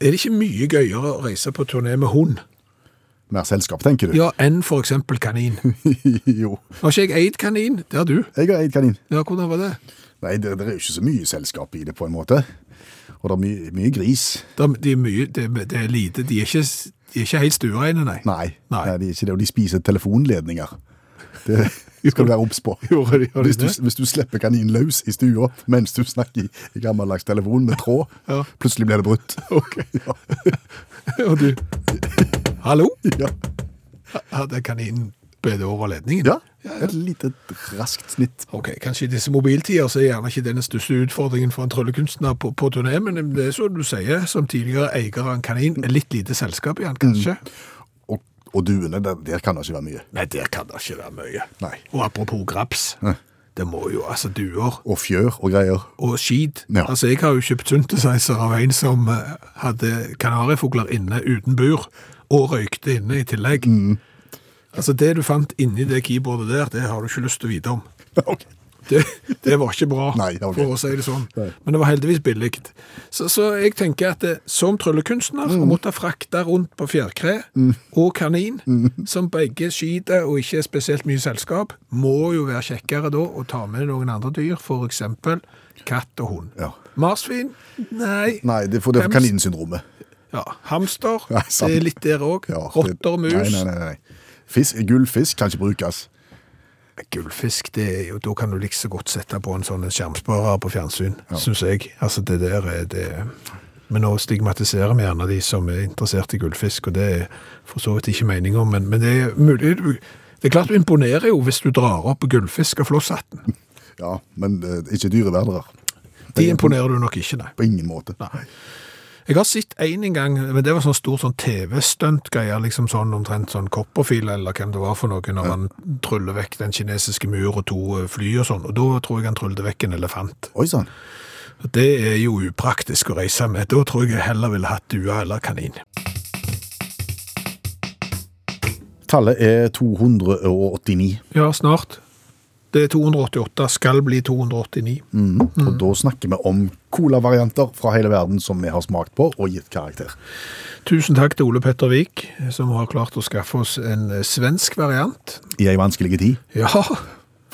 S2: Er det ikke mye gøyere å reise på turné med hund
S3: Mer selskap, tenker du?
S2: ja, enn f.eks. kanin?
S3: <laughs> jo.
S2: Har ikke jeg eid kanin? Det har du.
S3: Jeg har eid kanin.
S2: Ja, hvordan var det?
S3: Nei, det, det er jo ikke så mye selskap i det, på en måte. Og det er mye, mye gris.
S2: Det er, de er mye, det er, det er lite. De er ikke, de er ikke helt stuereine, nei.
S3: Nei,
S2: Nei.
S3: det er ikke det. Og de spiser telefonledninger.
S2: <laughs>
S3: Det skal du være obs på.
S2: Gjorde de- gjorde de
S3: hvis, du,
S2: det?
S3: hvis du slipper kaninen løs i stua mens du snakker i, i gammeldags telefon med tråd,
S2: Ja.
S3: plutselig blir det brutt.
S2: Ok.
S3: <laughs> Ja.
S2: <laughs> Og du Hallo?
S3: Ja.
S2: Hadde kaninen bedt over ledningen?
S3: ja. Et lite raskt snitt. Mm.
S2: Ok, Kanskje i disse mobiltider så er gjerne ikke den største utfordringen for en tryllekunstner på, på turné, men det er som du sier, som tidligere eier av en kanin, er litt lite selskap
S3: Mm.
S2: i han, kanskje?
S3: Og, og duene, der, der kan det ikke være mye.
S2: Nei, der kan det ikke være mye.
S3: Nei.
S2: Og apropos graps. Det må jo, altså duer
S3: Og fjør og
S2: <laughs>
S3: greier.
S2: og skit.
S3: Ja.
S2: Altså, jeg har jo kjøpt synthesizer av en som eh, hadde kanarifugler inne uten bur, og røykte inne i tillegg. Altså, det du fant inni det keyboardet der, det har du ikke lyst til å vite om.
S3: Ok.
S2: Det, det var ikke bra,
S3: Nei, det var ikke.
S2: for å si det sånn. Men det var heldigvis billig. Så, så jeg tenker at eh, som tryllekunstner,
S3: Mm.
S2: å måtte frakte rundt på fjærkre og kanin,
S3: Mm.
S2: som begge skyter og ikke er spesielt mye selskap, må jo være kjekkere da å ta med noen andre dyr, for eksempel katt og hund.
S3: Ja.
S2: Marsvin? Nei.
S3: Nei, det er for det er for
S2: Hems-
S3: kaninsyndromet. <laughs>
S2: Ja. Hamster?
S3: Nei, sant.
S2: det er litt der òg.
S3: Ja, det-
S2: Rotter og mus?
S3: Nei, nei, nei. nei. Fisk, gullfisk kan ikke brukes.
S2: Gullfisk, det er jo, da kan du like så godt sette på en sånn en skjermsparer på fjernsyn, synes jeg. Altså det der er det... Men nå stigmatiserer vi gjerne de som er interessert i gullfisk, og det er for så vidt ikke mening om, men, men det er mulig... du- Det er klart du imponerer jo hvis du drar opp gullfisk og flosshatten.
S3: Ja, men eh, ikke dyreverdere.
S2: De imponerer du nok ikke, nei.
S3: På ingen måte.
S2: Jeg har sett en en gang, men det var sånn stor sånn TV-stunt-greier, liksom sånn omtrent sånn kopperfil, eller hvem det var for noe, når han tryller vekk den kinesiske mur og to eh, fly og sånn, og da tror jeg han tryllet vekk en elefant.
S3: Oi sann.
S2: Det er jo upraktisk å reise med. Da tror jeg jeg heller ville hatt due eller kanin.
S3: Tallet er 289.
S2: Ja, snart. Det er 288, skal bli 289.
S3: Mm.
S2: Mm.
S3: Og da snakker vi om colavarianter fra hele verden som vi har smakt på og gitt karakter.
S2: Tusen takk til Ole Petter Vik, som har klart å skaffe oss en eh, svensk variant.
S3: I ei vanskelig tid.
S2: Ja,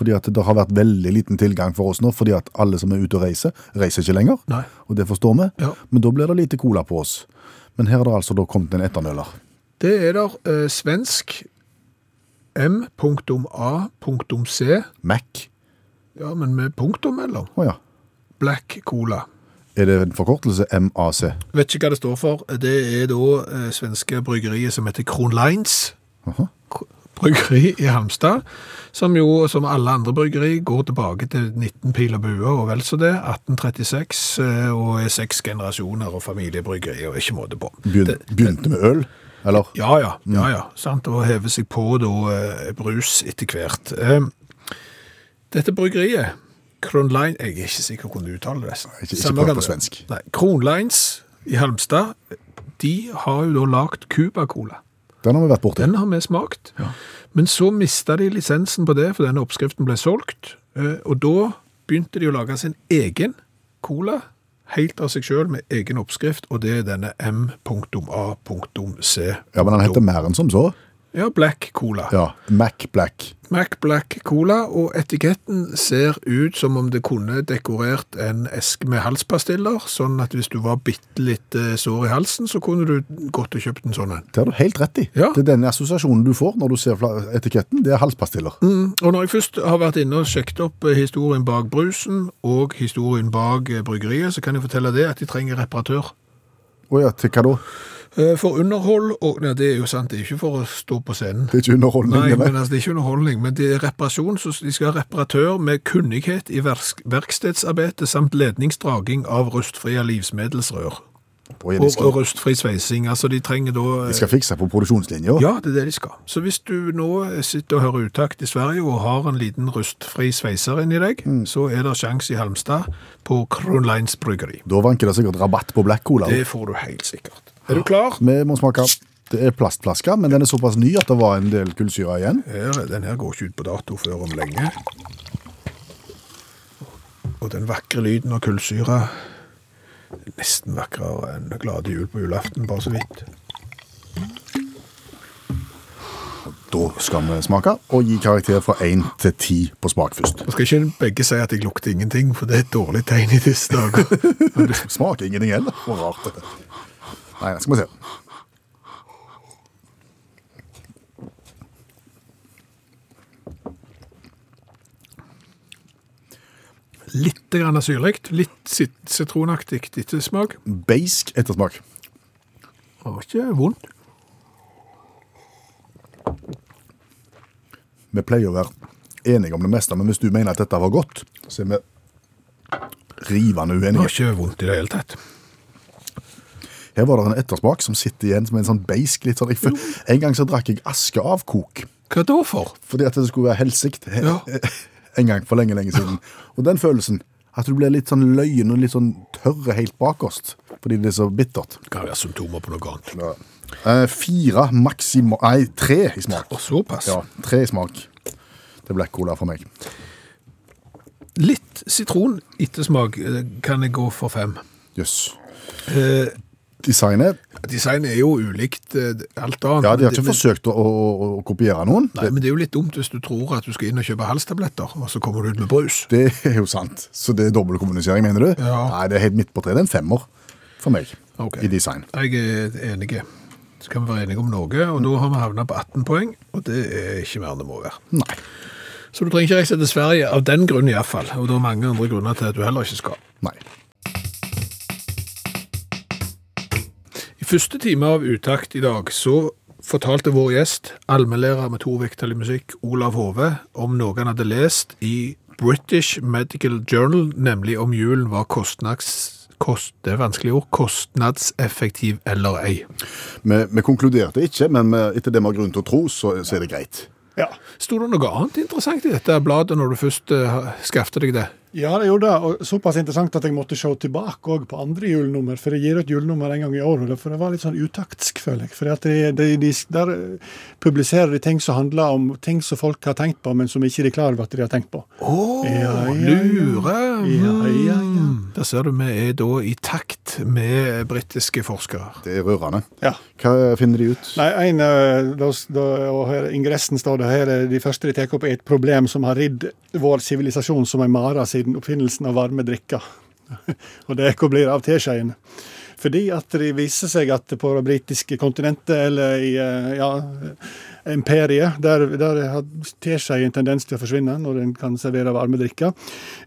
S3: Fordi at det har vært veldig liten tilgang for oss nå, fordi at alle som er ute og reiser, reiser ikke lenger.
S2: Nei.
S3: Og det forstår vi.
S2: Ja.
S3: Men da blir det lite cola på oss. Men her er det altså da kommet en etternøller.
S2: det er der eh, svensk m.a.c.
S3: Mac.
S2: Ja, men med punktum mellom.
S3: Å ja.
S2: Black Cola.
S3: Er det en forkortelse? MAC.
S2: Vet ikke hva det står for. Det er da eh, svenske bryggeriet som heter Kronlines.
S3: Aha.
S2: bryggeri i Hamstad, som jo, som alle andre bryggeri, går tilbake til 19 pil og bue og vel så det, 1836, eh, og er seks generasjoner og familiebryggeri og ikke måte på.
S3: Begyn,
S2: Det-
S3: begynte med øl, eller?
S2: Ja, ja, ja, ja, sant, og hever seg på da eh, brus etter hvert. Eh, Dette bryggeriet, Kronlein, jeg er ikke sikker hvordan du uttaler det.
S3: Ikke- ikke
S2: Samme
S3: prøv
S2: kan
S3: på
S2: det.
S3: svensk.
S2: Nei, Kronleins i Halmstad, de har jo da lagt Cuba-cola.
S3: Den har vi vært borti.
S2: Den har vi smakt. Men så mista de lisensen på det, for denne oppskriften ble solgt. Eh, Og da begynte de å lage sin egen cola, helt av seg sjøl, med egen oppskrift, og det er denne M.A.C.
S3: Ja, men den heter mer enn som så.
S2: Ja, Black Cola.
S3: Ja, Mac Black.
S2: Mac Black Cola, og etiketten ser ut som om det kunne dekorert en eske med halspastiller, sånn at hvis du var bitte litt eh, sår i halsen, så kunne du godt ha kjøpt en sånn en.
S3: Det har du helt rett i.
S2: Ja.
S3: Det er den assosiasjonen du får når du ser fla- etiketten. Det er halspastiller.
S2: Mm, Og når jeg først har vært inne og sjekket opp eh, historien bak brusen og historien bak eh, bryggeriet, så kan jeg fortelle det at de trenger reparatør.
S3: Å ja, til hva da?
S2: Eh, For underhold og Nei, det er jo sant, det er ikke for å stå på scenen.
S3: Det er ikke underholdning?
S2: Nei,
S3: det,
S2: men altså, det er ikke underholdning, men det er reparasjon, så de skal ha reparatør med kunnighet i verks- verkstedsarbeidet samt ledningsdraging av rustfrie livsmedelsrør.
S3: Å, ja, de
S2: Og,
S3: skal-
S2: og rustfri sveising. Altså, de trenger da eh,
S3: De skal fikse på produksjonslinja.
S2: Ja, det er det de skal. Så hvis du nå sitter og hører utakt i Sverige og har en liten rustfri sveiser inni deg, så er det sjans i Halmstad på Kronleins bryggeri.
S3: Da vanker det sikkert rabatt på Black Cola.
S2: Det får du helt sikkert. Er du klar?
S3: Vi må smake. Det er plastflaske, men den er såpass ny at det var en del kullsyre igjen.
S2: Her, den her går ikke ut på dato før om lenge. Og den vakre lyden av kullsyre Nesten vakrere enn Glade jul på julaften, bare så vidt.
S3: Da skal vi smake og gi karakter fra 1 til 10 på smak først. <laughs>
S2: Nå skal ikke begge si at jeg lukter ingenting, for det er et dårlig tegn i disse dager.
S3: Smaker ingenting heller. Hvor rart det er. Nei, skal vi se.
S2: Litt grann syrlig, litt sit- sitronaktig ettersmak.
S3: Beisk ettersmak.
S2: Det var ikke vondt.
S3: Vi pleier å være enige om det meste, men hvis du mener at dette var godt, så er vi rivende
S2: Det var
S3: uenige.
S2: ikke vondt i det hele tatt.
S3: Her var det en ettersmak som sitter igjen som en sånn beisk litt sånn. Jeg føl- En gang så drakk jeg aske av kok.
S2: Hva da for?
S3: Fordi at det skulle være helsikt. He
S2: Ja.
S3: <laughs> en gang for lenge, lenge siden. Og den følelsen, at du blir litt sånn løyen og litt sånn tørre helt bakerst, fordi det er så bittert.
S2: Kan være symptomer på noe annet.
S3: Eh, fire maksima... Nei, tre i smak.
S2: Og såpass.
S3: Ja, tre i smak. Det er black cola for meg.
S2: Litt sitron ettersmak eh, kan jeg gå for fem.
S3: Jøss.
S2: Eh,
S3: Designet
S2: Design er jo ulikt eh, alt annet.
S3: Ja, de har
S2: men-
S3: ikke
S2: men-
S3: forsøkt å, å, å- å kopiere noen.
S2: Nei, men det er jo litt dumt hvis du tror at du skal inn og kjøpe halstabletter, og så kommer du ut med brus.
S3: Det er jo sant. Så det er dobbeltkommunisering, mener du?
S2: Ja.
S3: Nei, det er helt midt på treet. Det er en femmer for meg
S2: Ok.
S3: i design.
S2: Jeg er enig. Så kan vi være enige om noe, og nå har vi havnet på 18 poeng, og det er ikke mer enn det må være.
S3: Nei.
S2: Så du trenger ikke reise til Sverige, av den grunn i hvert fall, og det er mange andre grunner til at du heller ikke skal.
S3: Nei.
S2: I første time av Utakt i dag så fortalte vår gjest, allmennlærer med to vekttall i musikk, Olav Hove, om noe han hadde lest i British Medical Journal, nemlig om julen var kostnads... Kost, det er vanskelig ord. Kostnadseffektiv eller ei.
S3: Vi, vi konkluderte ikke, men vi, etter det vi har grunn til å tro, så, så er det greit.
S6: Ja.
S2: Stod det noe annet interessant i dette bladet når du først uh, skaffte deg det?
S6: ja, det gjorde det. Og såpass interessant at jeg måtte se tilbake også på andre julenummer. For jeg gir ut julenummer en gang i året, for det var litt sånn utaktisk, føler jeg. For at de, de, de, der eh, publiserer de ting som handler om ting som folk har tenkt på, men som ikke de er klar over at de har tenkt på.
S2: Å,
S6: Ja, ja, ja.
S2: lure!
S6: Ja, ja, ja.
S2: Der ser du vi er da i takt med britiske forskere.
S3: Det er rørende.
S6: Ja.
S3: Hva finner de ut?
S6: Nei, en, eh, da, da, og her i ingressen står det her eh, de første de tar opp er et problem som har ridd vår sivilisasjon som en mare siden oppfinnelsen av varme drikker. <laughs> og det er hva blir av teskjeen. Fordi at det viser seg at på det britiske kontinentet, eller i eh, ja, imperiet, der, der har teskjeen en tendens til å forsvinne når en kan servere varme drikker.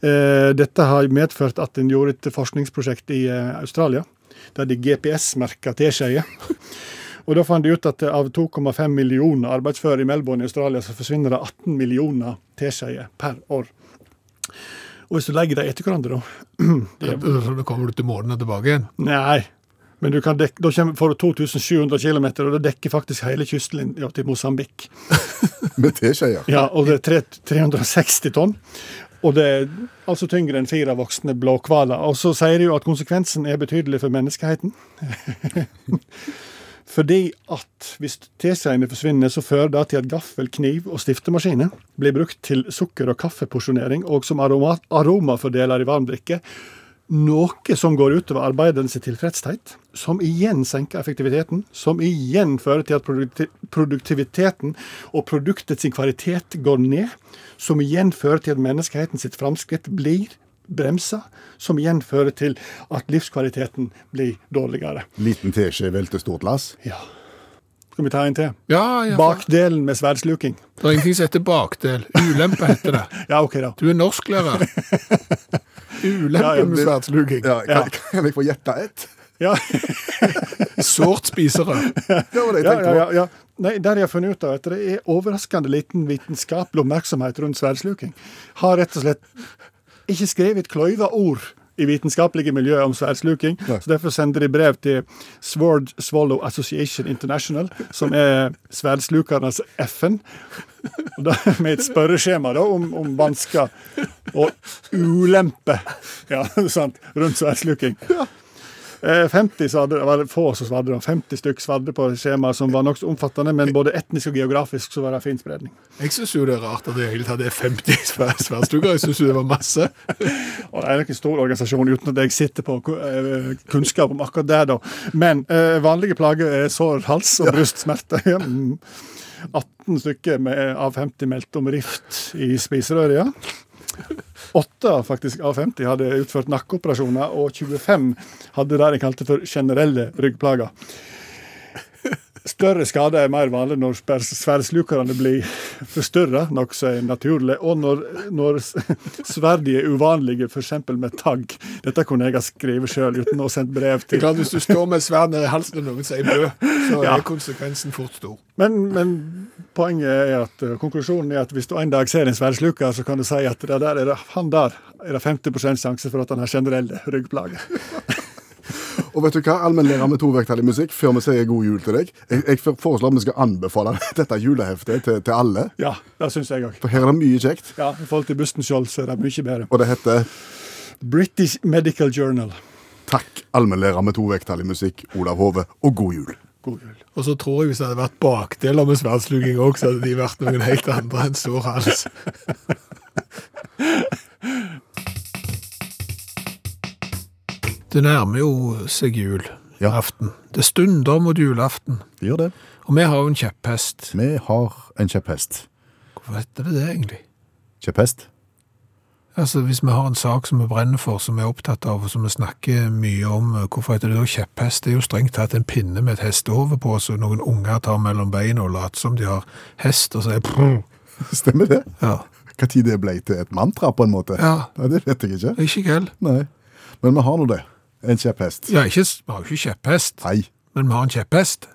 S6: Eh, dette har medført at en gjorde et forskningsprosjekt i eh, Australia, der de GPS-merka teskjeer. Og da fant de ut at av 2,5 millioner arbeidsføre i Melbourne i Australia, så forsvinner det 18 millioner teskjeer per år. Og hvis du legger dem etter hverandre, da det, er-
S2: Så da kommer du til måneden og tilbake igjen.
S6: Nei. Men du kan dekke, da kommer- får du 2700 km, og det dekker faktisk hele kysten ja, til Mosambik.
S3: Med teskjeer?
S6: Ja, og det er tre- 360 tonn. Og det er altså tyngre enn fire voksne blåhvaler. Og så sier de jo at konsekvensen er betydelig for menneskeheten. <laughs> Fordi at hvis teskjeene forsvinner, så fører det til at gaffel, kniv og stiftemaskiner blir brukt til sukker- og kaffeporsjonering og som aroma aromafordeler i varmdrikke. Noe som går utover arbeiderens tilfredshet, som igjen senker effektiviteten, som igjen fører til at produkti- produktiviteten og produktets kvalitet går ned, som igjen fører til at menneskeheten sitt framskritt blir bremsa, som igjen fører til at livskvaliteten blir dårligere.
S3: Liten teskje velter stort lass?
S6: Ja. Skal vi ta en til?
S2: Ja, ja.
S6: Bakdelen med sverdsluking.
S2: Det er ingenting som heter bakdel. Ulempe heter det.
S6: Ja, OK, da.
S2: Du er norsklærer.
S6: Ja,
S2: Ulempe
S6: ja,
S2: med
S3: det-
S2: sverdsluging.
S3: Ja,
S6: Ja.
S3: kan, kan jeg få gjette ett?
S6: Ja.
S2: Sårt spisere.
S3: Det var det jeg
S6: Ja,
S3: tenkte
S6: ja,
S3: på.
S6: ja, ja. Nei, der jeg har funnet ut av at det er overraskende liten vitenskapelig oppmerksomhet rundt sverdsluking. Har rett og slett ikke skrevet kløyva ord i vitenskapelige miljøer om sverdsluking.
S3: Nei.
S6: Så derfor sender de brev til Sword Swallow Association International, som er sverdslukernes FN. Og da, med et spørreskjema da, om, om vansker og ulempe ja, <laughs> sant, rundt sverdsluking. Eh, 50 svadde, det var få som svadde, da. 50 stykk svadde på skjemaet som var nokså omfattende, men både etnisk og geografisk så var det fin spredning. <laughs>
S2: Jeg syns jo det er rart at det i hele tatt er <laughs> 50 sverd- sverdslugere. Jeg syns jo det var masse.
S6: Og det er nok en stor organisasjon uten at jeg sitter på ku- eh, kunnskap om akkurat det, da. Men eh, vanlige plager er sår, hals og brystsmerter. <laughs> Mm. 18 stykker med, av 50 meldte om rift i spiserøret, ja. Åtte faktisk av 50 hadde utført nakkeoperasjoner, og 25 hadde det de kalte for generelle ryggplager. Større skader er mer vanlig når spers- sverdslukerne blir forstørra, noe som er naturlig, og når, når s- sverd er uvanlige, f.eks. med tagg. Dette kunne jeg ha skrevet sjøl uten å ha sendt
S2: Det
S6: brev
S2: er
S6: til
S2: klart, Hvis du står med et sverd ned i halsen og noen sier bø, så er
S6: Ja.
S2: konsekvensen fort stor.
S6: Men, men poenget er at eh, konklusjonen er at hvis du en dag ser en sverdsluker, så kan du si at det der er det, han der er det 50 sjanse for at han har generelle ryggplager.
S3: Og vet du hva? Allmennlærer med to vekttall i musikk før vi sier god jul til deg. Jeg, jeg foreslår at vi skal anbefale <laughs> dette juleheftet til, til alle.
S6: <laughs> Ja, det syns jeg òg.
S3: For her er det mye kjekt.
S6: Ja, I forhold til Busten Skjold så er det mye bedre.
S3: Og det heter
S6: British Medical Journal.
S3: Takk, allmennlærer med to vekttall i musikk, Olav Hove, og god jul.
S6: God jul.
S2: Og så tror jeg hvis det hadde vært bakdeler med sværdsluging òg, så hadde de vært noen helt andre enn sår hals. <laughs> Det nærmer jo seg jul.
S3: Ja.
S2: Aften. Det stunder mot julaften.
S3: Gjør det.
S2: Og vi har jo en kjepphest.
S3: Vi har en kjepphest.
S2: Hvorfor heter det det, egentlig?
S3: Kjepphest?
S2: Altså, Hvis vi har en sak som vi brenner for, som vi er opptatt av, og som vi snakker mye om, eh, hvorfor heter det da kjepphest? Det er jo strengt tatt en pinne med et hestehove på, så noen unger tar mellom beina og later som de har hest, og så er det
S3: <laughs> Stemmer det?
S2: Ja.
S3: Hva tid det ble til et mantra, på en måte?
S2: Ja.
S3: Nei, det vet jeg ikke.
S2: Ikke gæld.
S3: Nei. Men vi har nå det. En kjepphest.
S2: Ja, ikke, vi har jo ikke kjepphest.
S3: Hei.
S2: men vi har en kjepphest.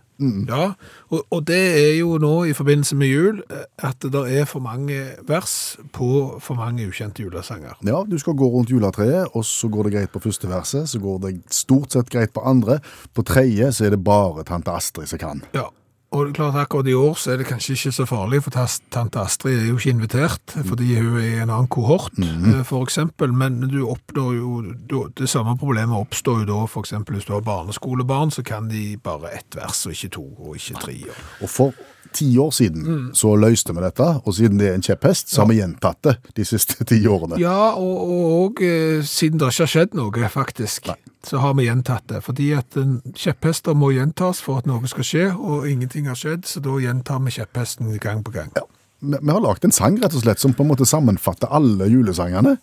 S2: Ja, og, og det er jo nå i forbindelse med jul eh, at det er for mange vers på for mange ukjente julesanger.
S3: Ja, du skal gå rundt juletreet, og så går det greit på første verset, så går det stort sett greit på andre. På tredje så er det bare tante Astrid som kan.
S2: Ja, og det er klart akkurat i år så er det kanskje ikke så farlig, for tas- tante Astrid er jo ikke invitert, fordi hun er i en annen kohort, eh, for eksempel, men du oppnår jo, du- det samme problemet oppstår jo da, for eksempel hvis du har barneskolebarn, så kan de bare ett vers, og ikke to, og ikke tre. Og...
S3: Og for ti år siden
S2: Mm.
S3: så løste vi dette, og siden det er en kjepphest, så har vi gjentatt det de siste ti årene.
S2: <laughs> Ja, og, og, og eh, siden det ikke har skjedd noe, faktisk, så har vi gjentatt det. Fordi at en kjepphester må gjentas for at noe skal skje, og ingenting har skjedd, så da gjentar vi kjepphesten gang på gang.
S3: Vi vi har lagd en sang rett og slett som på en måte sammenfatter alle julesangene.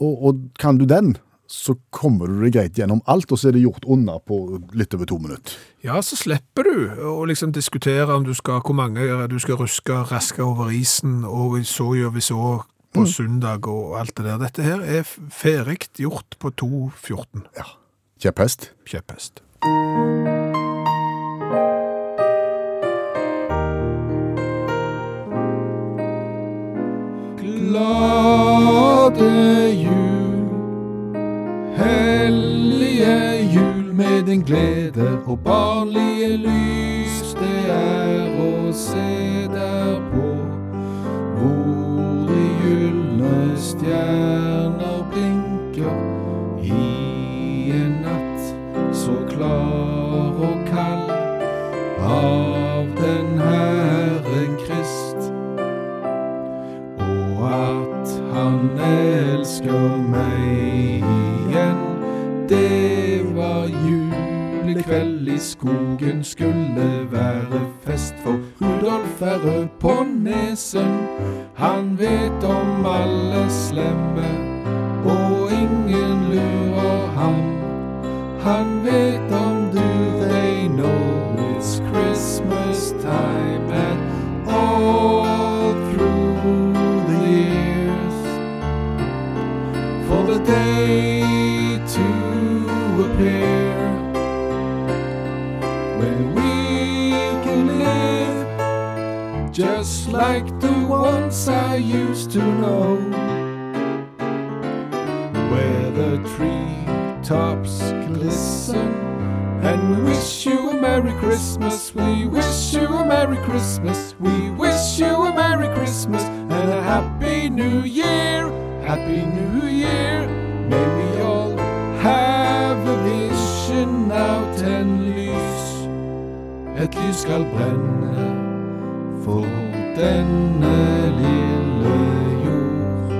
S3: Og, og kan du den, så kommer du deg greit gjennom alt, og så er det gjort unna på litt over to minutter.
S2: Ja, så slipper du å liksom diskutere om du skal, hvor mange du skal ruske raske over isen, og så gjør vi så på søndag og alt det der. Dette her er f- ferdig gjort på 2.14
S3: Ja. Kjepphest.
S2: kjepphest. Glade jul, hellige jul med din glede og barnlige lys det er å se der på hvor de gylne stjerner blinker i en natt så klar og kald av den Herre Krist, og at han elsker meg igjen. Det var julekveld i skogen, skulle være fest for Rudolf er rød på nesen. Han vet om alle slemme, og ingen lurer ham. Han vet om du They know it's Christmas time And all through the years For the day to appear When we can live Just like the ones I used to know where the treetops glisten. And we wish you a Merry Christmas, we wish you a Merry Christmas, we wish you a Merry Christmas and a Happy New Year, Happy New Year. May we all have a vision out and lys. Et lys skal brenne for denne lille jord.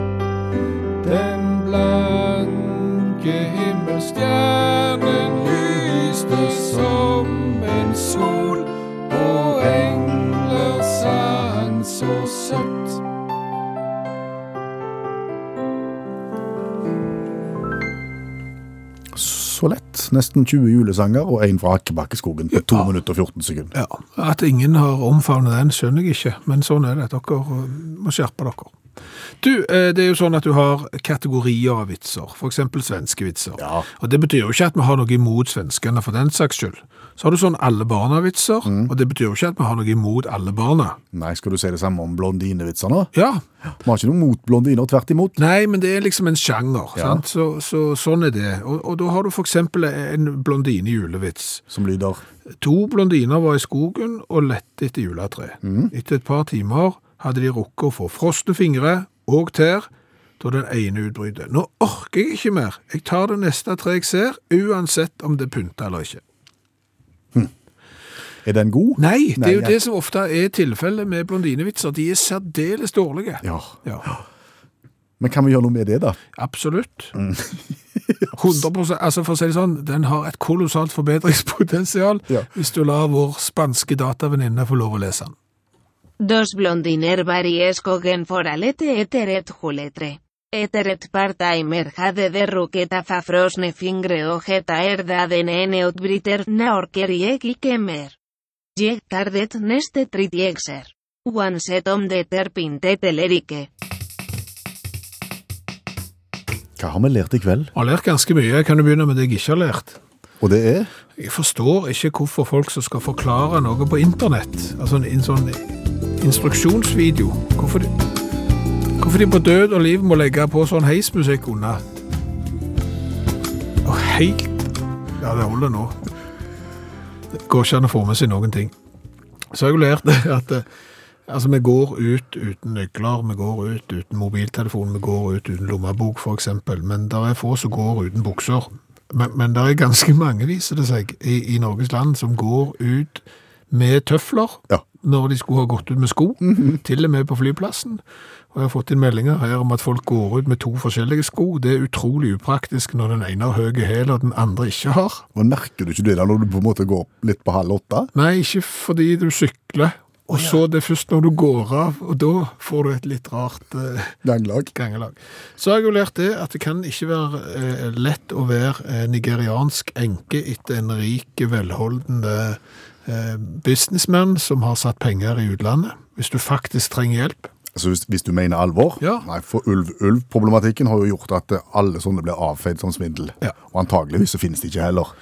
S2: Den blanke himmelstjernen lyste som en sol, og engler sang så søtt.
S3: Så lett. Nesten 20 julesanger og én fra Akkebakkeskogen på 2 minutter og 14 sekunder.
S2: Ja, At ingen har omfavnet den, skjønner jeg ikke, men sånn er det. Dere eh, må skjerpe dere. Du, eh, det er jo sånn at du har kategorier av vitser, f.eks. svenske vitser.
S3: Ja.
S2: Og Det betyr jo ikke at vi har noe imot svenskene for den saks skyld. Så har du sånn alle barna-vitser, og det betyr jo ikke at vi har noe imot alle barna.
S3: Nei, skal du si det samme om blondinevitser nå?
S2: Ja,
S3: Vi har ikke noe mot blondiner, tvert imot.
S2: Nei, men det er liksom en sjanger,
S3: Ja.
S2: sant? Så, så sånn er det. Og, og da har du for eksempel en blondine julevits.
S3: Som lyder
S2: To blondiner var i skogen og lette etter juletre.
S3: Mm.
S2: Etter et par timer hadde de rukket å få frosne fingre og tær, da den ene utbrydde. Nå orker jeg ikke mer. Jeg tar det neste tre jeg ser, uansett om det pynter eller ikke.
S3: Er den god?
S2: Nei, det er jo
S3: jeg-
S2: det som ofte er tilfellet med blondinevitser. De er særdeles dårlige.
S3: Ja.
S2: Ja,
S3: Men kan vi gjøre noe med det, da?
S2: absolutt. <laughs> 100 altså for å si det sånn, den har et kolossalt forbedringspotensial
S3: Ja.
S2: hvis du lar vår spanske datavenninne få lov å lese den.
S8: Dos blondiner variescogen foralete eteret juletre. Eteret part-timer jade de ruqueta fafrosne fingre ojeta erda de nene utbriter naorkeriek ikemer. Jeg tardet neste tritiexer. One set om de terpintet elerike.
S3: Hva har vi lært i kveld?
S2: Jeg har lært ganske mye. Kan du begynne med det jeg ikke har lært?
S3: Og det er
S2: Jeg forstår ikke hvorfor folk som skal forklare noe på internett, altså en, en sånn instruksjonsvideo, hvorfor de, hvorfor de på død og liv må legge på sånn heismusikk unna. Og helt Ja, det holder nå. Det går ikke an å få med seg noen ting. Så har jeg jo lært <laughs> det at eh, altså, vi går ut uten nøkler, vi går ut uten mobiltelefon, vi går ut uten lommebok f.eks., men det er få som går uten bukser. Men, men det er ganske mange, viser det seg, i, i Norges land som går ut med tøfler
S3: Ja.
S2: når de skulle ha gått ut med sko, til og med på flyplassen. Og jeg har fått inn meldinger her om at folk går ut med to forskjellige sko. Det er utrolig upraktisk når den ene har høye hæl og den andre ikke har.
S3: Men Merker du ikke det da når du på en måte går litt på halv åtte?
S2: Nei, ikke fordi du sykler. Og så er det først når du går av, og da får du et litt rart eh,
S3: Ganglag?
S2: gangelag. Så har jeg jo lært det at det kan ikke være eh, lett å være eh, nigeriansk enke etter en rik, velholdende eh, businessman som har satt penger i utlandet. Hvis du faktisk trenger hjelp.
S3: Altså hvis, hvis du mener alvor?
S2: Ja.
S3: Nei, for ulv-ulv-problematikken har jo gjort at eh, alle sånne blir avfeid som svindel.
S2: Ja.
S3: Og antageligvis så finnes de ikke heller.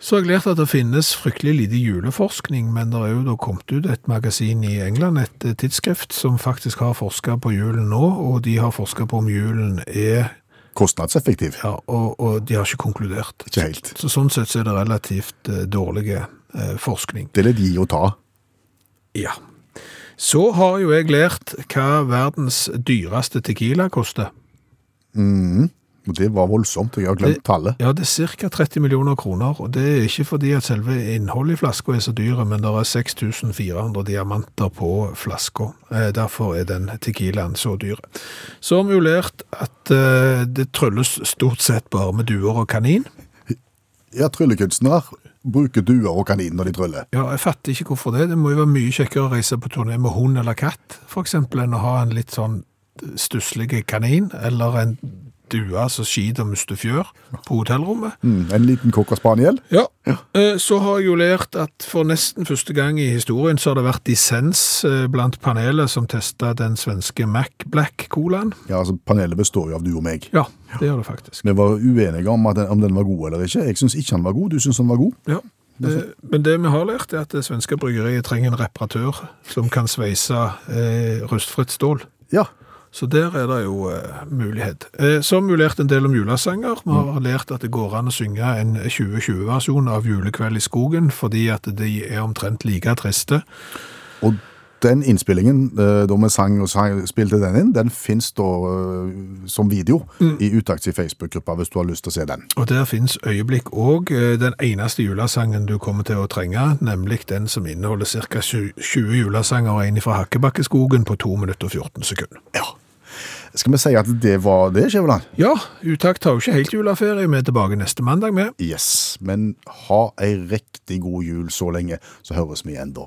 S2: Så har jeg lært at det finnes fryktelig lite juleforskning, men det er jo da kommet ut et magasin i England, et eh, tidsskrift, som faktisk har forska på julen nå, og de har forska på om julen er
S3: Kostnadseffektiv.
S2: Ja, og, og de har ikke konkludert.
S3: Ikke helt.
S2: Så, sånn sett så er det relativt eh, dårlig eh, forskning.
S3: Det er litt gi og ta.
S2: Ja. Så har jo jeg lært hva verdens dyreste tequila koster.
S3: Og det var voldsomt. Jeg har glemt
S2: Det-
S3: tallet.
S2: Ja, det er ca. 30 millioner kroner, og det er ikke fordi at selve innholdet i flaska er så dyre, men det er 6400 diamanter på flaska. Eh, Derfor er den tequilaen så dyr. Så har vi jo lært at eh, det trylles stort sett bare med duer og kanin.
S3: Ja, tryllekunstnere bruker duer og kanin når de tryller.
S2: Ja, jeg fatter ikke hvorfor det. Det må jo være mye kjekkere å reise på turné med hund eller katt, for eksempel, enn å ha en litt sånn stusslig kanin, eller en due som skiter og mister fjør på hotellrommet.
S3: Mm, en liten kokkerspaniel.
S2: Ja. Eh, Så har jeg jo lært at for nesten første gang i historien så har det vært dissens eh, blant panelet som testa den svenske Mac Black-colaen.
S3: Ja, altså panelet består jo av du og meg.
S2: Ja, det gjør det faktisk.
S3: Vi var uenige om, at den, om den var god eller ikke. Jeg syns ikke han var god, du syns han var god.
S2: Ja. Eh, Men det vi har lært, er at det svenske bryggeriet trenger en reparatør som kan sveise eh, rustfritt stål.
S3: Ja.
S2: Så der er det jo eh, mulighet. Eh, så har vi jo lært en del om julesanger. Vi har lært at det går an å synge en 2020-versjon av 'Julekveld i skogen', fordi at de er omtrent like triste.
S3: Og den innspillingen, eh, da vi sang og sang, spilte den inn, den fins da eh, som video i Utakts i Facebook-gruppa, hvis du har lyst til å se den.
S2: Og der finnes øyeblikk òg eh, den eneste julesangen du kommer til å trenge, nemlig den som inneholder ca. 20 julesanger og en fra Hakkebakkeskogen på 2 minutter og 14 sekunder.
S3: Skal vi si at det var det, Skjæveland?
S2: Ja, Utakt tar jo ikke helt juleferie. Vi er tilbake neste mandag med.
S3: Yes. Men ha ei riktig god jul så lenge, så høres vi igjen da.